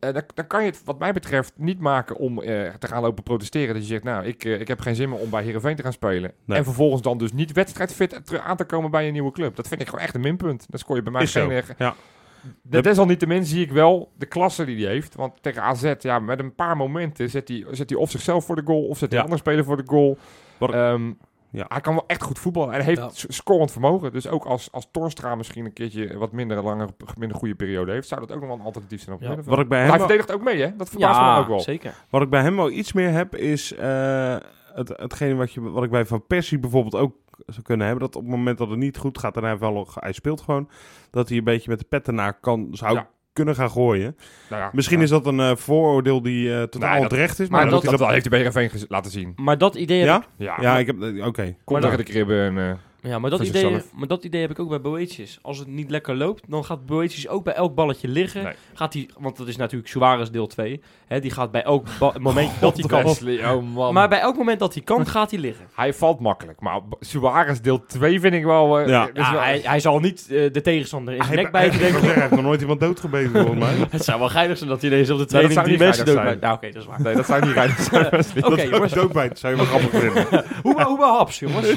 Speaker 3: eh, dan, dan kan je het wat mij betreft niet maken om eh, te gaan lopen protesteren. Dat je zegt, nou, ik, eh, ik heb geen zin meer om bij Heerenveen te gaan spelen.
Speaker 1: Nee.
Speaker 3: En vervolgens dan dus niet wedstrijdfit terug aan te komen bij een nieuwe club. Dat vind ik gewoon echt een minpunt. Dat scoor je bij mij
Speaker 1: Is zo.
Speaker 3: geen... eh,
Speaker 1: Ja.
Speaker 3: De- Desalniettemin zie ik wel de klasse die hij heeft. Want tegen AZ, ja, met een paar momenten zet hij, zet hij of zichzelf voor de goal... of zet hij
Speaker 1: Ja.
Speaker 3: andere spelers voor de goal.
Speaker 1: Wat-
Speaker 3: Ehm,
Speaker 1: Ja.
Speaker 3: Hij kan wel echt goed voetballen. En hij heeft
Speaker 4: Ja.
Speaker 3: s- scorend vermogen. Dus ook als, als Torstra misschien een keertje een wat minder lange, minder goede periode heeft... zou dat ook nog wel een alternatief zijn op het
Speaker 4: Ja.
Speaker 3: middenveld.
Speaker 1: Wat ik bij
Speaker 3: Maar
Speaker 1: hem
Speaker 3: hij
Speaker 1: wel-
Speaker 3: verdedigt ook mee, hè? Dat verbaast me ook wel.
Speaker 2: zeker.
Speaker 1: Wat ik bij hem wel iets meer heb, is eh, het, hetgene wat, je, wat ik bij Van Persie bijvoorbeeld ook zou kunnen hebben. Dat op het moment dat het niet goed gaat en hij, heeft wel, nog- hij speelt gewoon, dat hij een beetje met de petten naar kan, zou
Speaker 3: Ja.
Speaker 1: kunnen gaan gooien.
Speaker 3: Nou ja,
Speaker 1: Misschien
Speaker 3: ja.
Speaker 1: is dat een eh, vooroordeel die eh, totaal
Speaker 3: Nee, dat-
Speaker 1: terecht is.
Speaker 3: Maar,
Speaker 1: dan
Speaker 3: dat,
Speaker 1: moet
Speaker 3: dat,
Speaker 1: je
Speaker 3: heeft de BGV gez- laten zien.
Speaker 2: Maar dat idee heb
Speaker 1: Ja?
Speaker 3: Ja,
Speaker 1: Ja, ik heb... eh, Oké.
Speaker 3: kom
Speaker 2: maar
Speaker 3: tegen de kribben en... eh,
Speaker 2: Ja, maar dat,
Speaker 3: Voor
Speaker 2: idee,
Speaker 3: zichzelf.
Speaker 2: maar dat idee heb ik ook bij Boetjes. Als het niet lekker loopt, dan gaat Boetjes ook bij elk balletje liggen.
Speaker 3: Nee.
Speaker 2: Gaat hij, want dat is natuurlijk Suarez deel 2. Hè, die gaat bij elk ba- moment dat hij kan.
Speaker 3: Wesley, oh man.
Speaker 2: Maar bij elk moment dat hij kan, gaat hij liggen.
Speaker 3: Hij valt makkelijk. Maar Suarez deel 2 vind ik wel... eh,
Speaker 1: Ja.
Speaker 3: dat is
Speaker 2: Ja,
Speaker 3: wel-
Speaker 2: hij, hij zal niet eh, de tegenstander in zijn nek
Speaker 1: hij,
Speaker 2: bijten,
Speaker 1: hij,
Speaker 2: denk ik.
Speaker 1: hij heeft nog nooit iemand doodgebeten volgens mij.
Speaker 2: Het zou wel geinig zijn dat hij ineens op de
Speaker 3: zou
Speaker 2: training
Speaker 3: niet
Speaker 2: drie mensen
Speaker 3: geinig
Speaker 2: dood
Speaker 3: zijn.
Speaker 2: maakt. Nou, oké, dat is waar.
Speaker 3: Nee, dat zou niet rijden.
Speaker 2: Oké,
Speaker 1: Oké,
Speaker 2: jongens.
Speaker 1: doodbijten zou je wel grappig vinden.
Speaker 2: Hoe maar- hoe maar haps, jongens.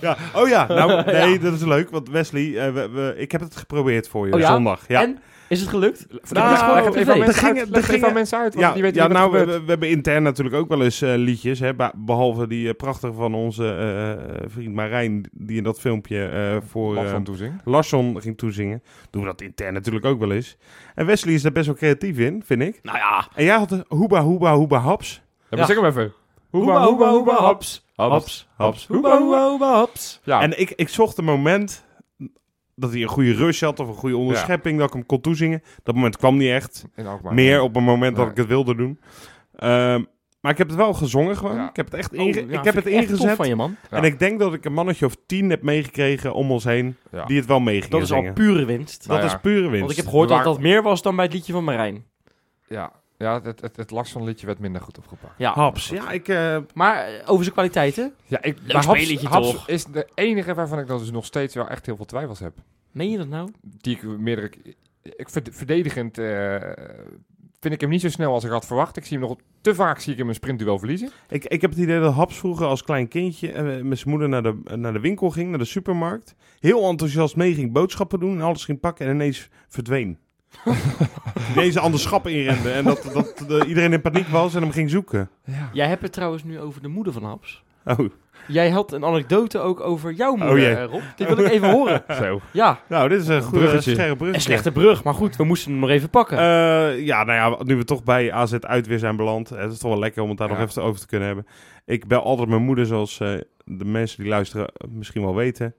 Speaker 1: Ja. Oh ja, nou nee, dat is leuk. Want Wesley, eh, we, we- ik heb het geprobeerd voor je
Speaker 2: Oh ja?
Speaker 1: zondag. Ja,
Speaker 2: En, is het gelukt?
Speaker 1: Nou,
Speaker 2: Vertel
Speaker 1: leg
Speaker 2: het
Speaker 1: het
Speaker 2: gewoon
Speaker 3: even
Speaker 2: op
Speaker 3: aan
Speaker 1: er
Speaker 2: tv.
Speaker 3: mensen
Speaker 1: gingen-
Speaker 3: uit.
Speaker 1: er
Speaker 3: Leg het even
Speaker 1: gingen-
Speaker 3: aan mensen uit. Want
Speaker 1: ja,
Speaker 3: die weten
Speaker 1: ja
Speaker 3: niet wat
Speaker 1: nou,
Speaker 3: er
Speaker 1: we,
Speaker 3: gebeurt.
Speaker 1: we- we hebben intern natuurlijk ook wel eens eh, liedjes. Hè, be- behalve die eh, prachtige van onze eh, vriend Marijn, die in dat filmpje eh, voor
Speaker 3: Lach
Speaker 1: eh,
Speaker 3: van toezing.
Speaker 1: Larsson ging toezingen. Doen we dat intern natuurlijk ook wel eens. En Wesley is daar best wel creatief in, vind ik.
Speaker 2: Nou ja.
Speaker 1: En jij had de hoeba, hoeba, hoeba, haps.
Speaker 3: Ja,
Speaker 2: Ja.
Speaker 3: maar zeg hem even.
Speaker 2: Hoeba, hoeba, hoeba, haps.
Speaker 1: Oh,
Speaker 3: Haps.
Speaker 2: Haps.
Speaker 1: haps.
Speaker 2: Hoeba, hoeba, hoeba, haps.
Speaker 3: Ja,
Speaker 1: En ik, ik zocht een moment dat hij een goede rush had of een goede onderschepping, dat ik hem kon toezingen. Dat moment kwam niet echt.
Speaker 3: in Alkmaar.
Speaker 1: meer op het moment dat
Speaker 3: Ja.
Speaker 1: ik het wilde doen. Ehm, maar ik heb het wel gezongen gewoon.
Speaker 3: Ja.
Speaker 1: Ik heb het echt,
Speaker 2: Oh,
Speaker 1: inge-
Speaker 2: ja,
Speaker 1: ik
Speaker 2: vind
Speaker 1: heb het
Speaker 2: echt tof
Speaker 1: ingezet.
Speaker 2: van je, man.
Speaker 3: Ja.
Speaker 1: En ik denk dat ik een mannetje of tien heb meegekregen om ons heen
Speaker 3: Ja.
Speaker 1: die het wel mee
Speaker 2: Dat
Speaker 1: gingen
Speaker 2: is
Speaker 1: zingen.
Speaker 2: al pure winst.
Speaker 1: dat
Speaker 3: Nou ja.
Speaker 1: is pure winst.
Speaker 2: Want ik heb gehoord
Speaker 3: We
Speaker 2: dat dat meer was dan bij het liedje van Marijn.
Speaker 3: Ja, ja het, het, het Larsson liedje werd minder goed opgepakt.
Speaker 2: Ja.
Speaker 1: Haps. Ja, ik... eh,
Speaker 2: Maar eh, over zijn kwaliteiten,
Speaker 3: Ja, ik,
Speaker 2: Leuk
Speaker 3: maar
Speaker 2: spelletje
Speaker 3: Haps
Speaker 2: toch?
Speaker 3: is de enige waarvan ik dan dus nog steeds wel echt heel veel twijfels heb.
Speaker 2: meen je dat nou?
Speaker 3: Die ik meerdere... Ik verd- verdedigend eh, vind ik hem niet zo snel als ik had verwacht. Ik zie hem nog te vaak zie ik hem een sprintduel verliezen.
Speaker 1: ik, ik heb het idee dat Haps vroeger als klein kindje eh, met zijn moeder naar de, naar de winkel ging, naar de supermarkt. Heel enthousiast mee ging boodschappen doen en alles ging pakken en ineens verdween. Deze andere schap inrende en dat, dat eh, iedereen in paniek was en hem ging zoeken.
Speaker 3: Ja.
Speaker 2: Jij hebt het trouwens nu over de moeder van Haps.
Speaker 1: Oh,
Speaker 2: Jij had een anekdote ook over jouw moeder,
Speaker 1: jee.
Speaker 2: eh, Rob. Die wil ik even horen.
Speaker 3: Zo.
Speaker 2: Ja,
Speaker 1: nou, dit is een goede
Speaker 3: Bruggetje.
Speaker 1: scherp bruggetje.
Speaker 2: een slechte brug, maar goed, we moesten hem nog even pakken.
Speaker 1: Eh, ja, nou ja, nu we toch bij AZ uit weer zijn beland. Het is toch wel lekker om het daar
Speaker 3: Ja.
Speaker 1: nog even over te kunnen hebben. Ik bel altijd mijn moeder, zoals eh, de mensen die luisteren misschien wel weten.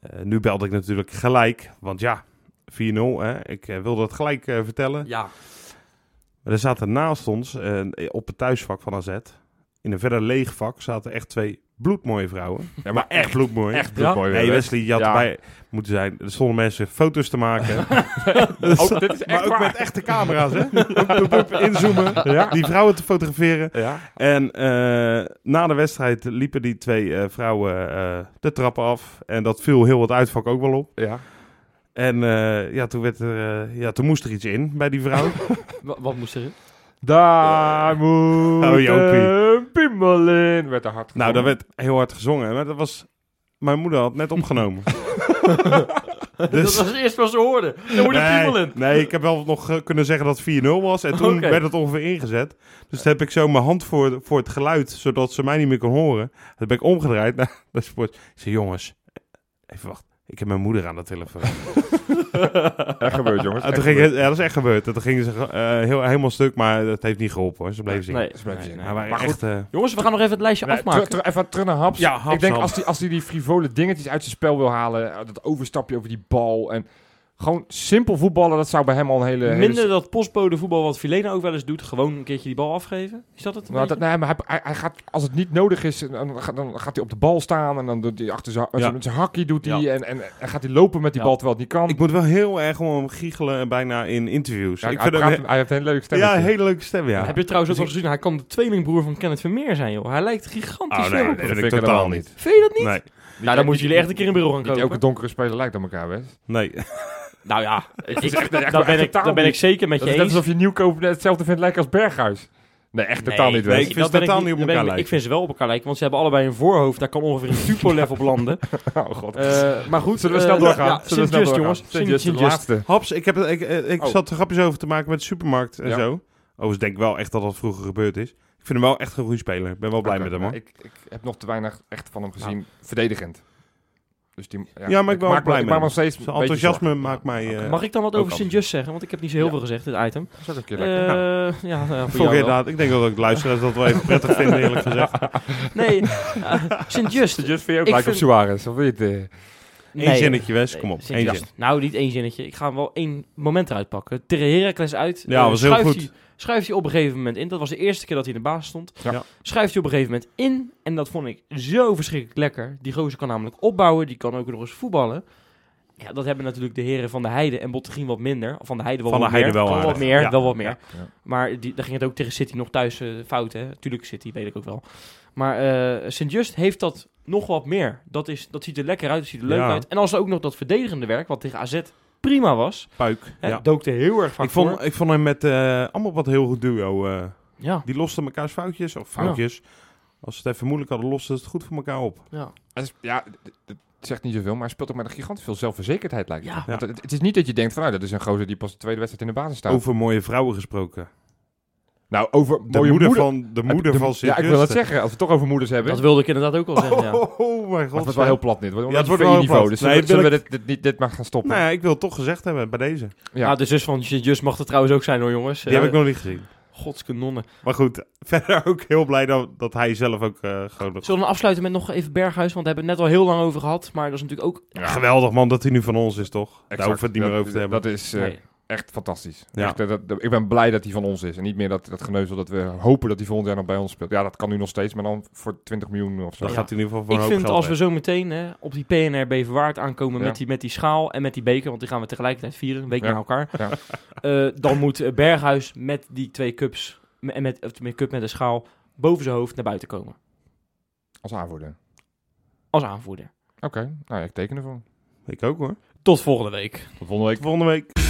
Speaker 1: Eh, nu belde ik natuurlijk gelijk, want ja, 4-0. Hè? Ik eh, wilde dat gelijk eh, vertellen.
Speaker 2: ja,
Speaker 1: Maar er zaten naast ons, eh, op het thuisvak van AZ, in een verder leeg vak, zaten echt twee bloedmooie vrouwen.
Speaker 3: Ja,
Speaker 1: Maar echt bloedmooi.
Speaker 3: Echt
Speaker 2: Ja.
Speaker 3: bloedmooi weer,
Speaker 1: Nee,
Speaker 3: hè?
Speaker 1: Wesley, je had
Speaker 3: Ja.
Speaker 1: erbij moeten zijn. Er stonden mensen foto's te maken. Dus-
Speaker 3: Ook- Oh, dit is
Speaker 1: maar
Speaker 3: echt
Speaker 1: ook
Speaker 3: waar.
Speaker 1: met echte camera's, hè? Boep, boep, boep, inzoomen,
Speaker 3: Ja.
Speaker 1: die vrouwen te fotograferen.
Speaker 3: Ja.
Speaker 1: En eh, na de wedstrijd liepen die twee eh, vrouwen eh, de trappen af. En dat viel heel het uitvak ook wel op.
Speaker 3: Ja.
Speaker 1: En eh, ja, toen werd er, eh, ja, toen moest er iets in bij die vrouw.
Speaker 2: Wa- wat moest er?
Speaker 3: Daar Ah, moet
Speaker 1: Oh, Jopie.
Speaker 3: een piemel in. Werd er hard
Speaker 1: nou, dat
Speaker 3: gezongen.
Speaker 1: werd heel hard gezongen. Maar dat was... Mijn moeder had net opgenomen. Dus-
Speaker 2: Dat was eerst wat ze hoorden. Dan moet je
Speaker 1: nee,
Speaker 2: piemelen.
Speaker 1: nee, ik heb wel nog eh, kunnen zeggen dat het 4-0 was. En toen
Speaker 2: Oké.
Speaker 1: werd het ongeveer ingezet. Dus toen heb ik zo mijn hand voor, voor het geluid, zodat ze mij niet meer kon horen. Toen ben ik omgedraaid naar de sport. Ik zei, jongens, even wacht. Ik heb mijn moeder aan de telefoon.
Speaker 3: Echt gebeurd, jongens.
Speaker 1: En
Speaker 3: Echt
Speaker 1: Ah, toen ging,
Speaker 3: gebeurd.
Speaker 1: het- ja, dat is echt gebeurd. En Toen gingen ze eh, heel, helemaal stuk, maar dat heeft niet geholpen hoor. Ze bleven zingen.
Speaker 2: Nee,
Speaker 3: is blijven
Speaker 2: nee,
Speaker 3: zingen.
Speaker 2: nee.
Speaker 1: Maar, wij
Speaker 3: Maar goed.
Speaker 1: echt, eh,
Speaker 2: Jongens, we gaan nog even het lijstje
Speaker 3: Nee,
Speaker 2: afmaken.
Speaker 3: teru- teru- even terug naar Haps.
Speaker 1: Ja, Haps,
Speaker 3: ik denk
Speaker 1: Haps.
Speaker 3: als hij die, als die, die frivole dingetjes uit zijn spel wil halen, eh, dat overstapje over die bal en Gewoon simpel voetballen, dat zou bij hem al een hele... hele
Speaker 2: Minder dat postbode voetbal wat Filena ook wel eens doet. Gewoon een keertje die bal afgeven. Is dat het? een
Speaker 3: Nou, dat,
Speaker 2: beetje?
Speaker 3: nee, maar hij, hij, hij gaat, als het niet nodig is, dan, gaat- dan gaat hij op de bal staan. En dan doet hij achter zijn,
Speaker 1: Ja.
Speaker 3: zijn- met zijn hakkie doet hij, en, en, en gaat hij lopen met die
Speaker 2: Ja.
Speaker 3: bal terwijl het niet kan.
Speaker 1: Ik moet wel heel erg om hem giechelen bijna in interviews.
Speaker 3: Ja,
Speaker 1: ik
Speaker 3: hij,
Speaker 1: vind
Speaker 3: praat-
Speaker 1: hem,
Speaker 3: hij heeft een leuke stem.
Speaker 1: ja, een hele leuke stem, ja.
Speaker 2: Heb je trouwens ook al gezien? Hij kan de tweelingbroer van Kenneth Vermeer zijn, joh. Hij lijkt gigantisch
Speaker 1: Oh, nee,
Speaker 2: veel
Speaker 1: dat
Speaker 2: op hem.
Speaker 1: vind ik totaal niet.
Speaker 2: Vind je dat niet?
Speaker 1: Nee,
Speaker 2: Nou, dan moeten jullie echt een keer een bureau gaan
Speaker 3: Niet
Speaker 2: kopen.
Speaker 3: elke donkere speler lijkt op elkaar, Wes.
Speaker 1: nee.
Speaker 2: Nou ja, ik,
Speaker 3: echt
Speaker 2: daar ben,
Speaker 3: totaal
Speaker 2: ik, daar ben
Speaker 3: niet.
Speaker 2: ik zeker met
Speaker 3: Het
Speaker 2: je
Speaker 3: is net
Speaker 2: eens.
Speaker 3: alsof je Nieuwkoop net hetzelfde vindt lijken als Berghuis. Nee, echt totaal niet, Wes.
Speaker 1: nee, ik vind
Speaker 2: dat
Speaker 1: ze
Speaker 2: ben
Speaker 1: totaal niet op
Speaker 2: daar
Speaker 1: elkaar
Speaker 2: ben ik-
Speaker 1: lijken.
Speaker 2: Ik vind ze wel op elkaar lijken, want ze hebben allebei een voorhoofd. Daar kan ongeveer een tupo-lef op landen.
Speaker 3: Oh god.
Speaker 2: Eh, maar goed,
Speaker 3: Zullen we
Speaker 2: eh,
Speaker 3: snel doorgaan?
Speaker 2: ja,
Speaker 3: Zullen we
Speaker 2: Sint
Speaker 3: snel
Speaker 2: Just,
Speaker 3: doorgaan?
Speaker 2: jongens.
Speaker 3: Sint
Speaker 2: Sint
Speaker 3: Just, de
Speaker 2: Sint Just.
Speaker 3: laatste.
Speaker 1: Haps, ik, heb, ik, eh, ik
Speaker 3: Oh.
Speaker 1: zat er grapjes over te maken met de supermarkt en
Speaker 3: Ja.
Speaker 1: zo. Overigens denk ik wel echt dat dat vroeger gebeurd is. Ik vind hem wel echt een goede speler. Ik ben wel blij
Speaker 3: Oké,
Speaker 1: met hem,
Speaker 3: maar
Speaker 1: hoor.
Speaker 3: Ik, ik heb nog te weinig echt van hem gezien, verdedigend. Dus die,
Speaker 1: Ja, maar ik ben
Speaker 3: maak
Speaker 1: ook blij
Speaker 3: me-
Speaker 1: met
Speaker 3: Ik maak
Speaker 1: hem.
Speaker 3: nog steeds
Speaker 1: Zijn
Speaker 3: een beetje
Speaker 1: enthousiasme
Speaker 3: zorgen.
Speaker 1: maakt mij... eh,
Speaker 2: Mag ik dan wat
Speaker 3: Ook
Speaker 2: over
Speaker 3: al.
Speaker 2: Sint Just zeggen? Want ik heb niet zo heel
Speaker 3: Ja.
Speaker 2: veel gezegd, dit item.
Speaker 3: Dat is ook een keer
Speaker 2: Eh,
Speaker 3: lekker. Ja.
Speaker 2: ja, nou ja, voor
Speaker 1: Vond ik
Speaker 2: jou wel.
Speaker 1: inderdaad, ik denk dat ook de luisteraars dat wel even prettig vinden, eerlijk gezegd.
Speaker 2: Nee, eh, Sint Just.
Speaker 3: Just voor jou
Speaker 2: Ik
Speaker 3: lijkt op
Speaker 2: vind-
Speaker 3: Suarez, of weet
Speaker 1: eh?
Speaker 3: je?
Speaker 1: Eén
Speaker 2: Nee.
Speaker 1: zinnetje, Wes,
Speaker 2: Nee,
Speaker 1: kom op.
Speaker 2: Sint
Speaker 1: Eén
Speaker 2: Just.
Speaker 1: zin.
Speaker 2: Nou, niet één zinnetje. Ik ga hem wel één moment eruit pakken. Tegen Heracles uit.
Speaker 1: Ja,
Speaker 2: eh,
Speaker 1: was heel
Speaker 2: schuift
Speaker 1: goed.
Speaker 2: Hij, schuift hij op een gegeven moment in. Dat was de eerste keer dat hij in de baas stond.
Speaker 3: Ja.
Speaker 1: Ja.
Speaker 2: Schuift hij op een gegeven moment in. En dat vond ik zo verschrikkelijk lekker. Die gozer kan namelijk opbouwen. Die kan ook nog eens voetballen. Ja, dat hebben natuurlijk de heren van de Heide en Bottegien wat minder. Van de Heide wel
Speaker 1: Van
Speaker 2: wat
Speaker 1: de Heide
Speaker 2: meer.
Speaker 1: wel
Speaker 2: wat
Speaker 1: aardig.
Speaker 2: meer,
Speaker 1: Ja.
Speaker 2: wel wat meer.
Speaker 3: Ja.
Speaker 2: Maar die, daar ging het ook tegen City nog thuis eh, fout, hè? Tuurlijk City, weet ik ook wel. Maar eh Sint-Just heeft dat nog wat meer. Dat, is, dat ziet er lekker uit, dat ziet er leuk
Speaker 1: Ja.
Speaker 2: uit. En als er ook nog dat verdedigende werk, wat tegen AZ prima was,
Speaker 1: Puik.
Speaker 2: hè,
Speaker 1: Ja.
Speaker 2: dook er heel erg van
Speaker 1: Ik, vond, ik vond hem met eh allemaal wat heel goed duo. eh,
Speaker 2: Ja,
Speaker 1: die losten elkaars foutjes, of foutjes. Als ze het even moeilijk hadden, losten ze het goed voor elkaar op.
Speaker 2: ja.
Speaker 3: Hij is- Ja, d- d- dat zegt niet zoveel, maar hij speelt ook met een gigantisch veel zelfverzekerdheid lijkt het.
Speaker 2: Ja.
Speaker 3: Want het, het is niet dat je denkt van, nou, dat is een gozer die pas de tweede wedstrijd in de basis staat.
Speaker 1: Over mooie vrouwen gesproken.
Speaker 3: nou, over
Speaker 1: De
Speaker 3: mooie
Speaker 1: moeder, van, de moeder van
Speaker 3: Ja, ik wil dat zeggen. Als we het toch over moeders hebben.
Speaker 2: dat wilde ik inderdaad ook al zeggen.
Speaker 1: Oh,
Speaker 2: Ja.
Speaker 1: oh, oh, mijn
Speaker 3: Maar het
Speaker 1: god.
Speaker 3: wordt wel heel plat dit. Ja,
Speaker 1: Ja,
Speaker 3: het
Speaker 1: het wordt
Speaker 3: wordt een
Speaker 1: wel heel
Speaker 3: niveau.
Speaker 1: plat.
Speaker 3: Dus
Speaker 1: Nee, wil
Speaker 3: zullen, we- zullen we dit, dit, niet- dit maar gaan stoppen?
Speaker 1: Nou ja, ik wil het toch gezegd hebben bij deze. Die
Speaker 3: Ja.
Speaker 2: Ja. de zus van Sint-Just mag er trouwens ook zijn hoor, jongens. Eh,
Speaker 1: heb ik nog niet gezien.
Speaker 2: Godske nonnen.
Speaker 1: Maar goed, verder ook heel blij dat, dat hij zelf ook eh gewoon nog...
Speaker 2: Zullen we afsluiten met nog even Berghuis, want daar hebben we het net al heel lang over gehad. Maar dat is natuurlijk ook...
Speaker 1: Ja, Geweldig man dat hij nu van ons is, toch? Daar
Speaker 3: Exact.
Speaker 1: hoeven we het niet meer
Speaker 3: Dat-
Speaker 1: over te hebben.
Speaker 3: Dat is eh,
Speaker 2: Nee.
Speaker 3: echt fantastisch.
Speaker 1: Ja.
Speaker 3: Echt, eh, dat, dat- ik ben blij dat hij van ons is. En niet meer dat, dat geneuzel dat we hopen dat hij volgend jaar nog bij ons speelt. Ja, dat kan nu nog steeds, maar dan voor 20 miljoen of zo.
Speaker 1: Dan
Speaker 2: Ja.
Speaker 1: gaat hij in ieder geval voor
Speaker 2: Ik
Speaker 1: een hoop
Speaker 2: vind
Speaker 1: geld
Speaker 2: als we
Speaker 1: weg.
Speaker 2: zo meteen hè, op die PNR Beverwaard aankomen
Speaker 3: Ja.
Speaker 2: met, die, met die schaal en met die beker, want die gaan we tegelijkertijd vieren, een week
Speaker 3: Ja.
Speaker 2: na elkaar.
Speaker 3: Ja.
Speaker 2: Eh, dan moet eh, Berghuis met die twee cups, me- en met, of met cup met een schaal, boven zijn hoofd naar buiten komen.
Speaker 3: Als aanvoerder.
Speaker 2: Als aanvoerder.
Speaker 3: Oké, nou ja, ik teken ervoor.
Speaker 1: Ik ook hoor.
Speaker 2: Tot volgende week.
Speaker 3: Tot volgende week.
Speaker 1: Volgende week.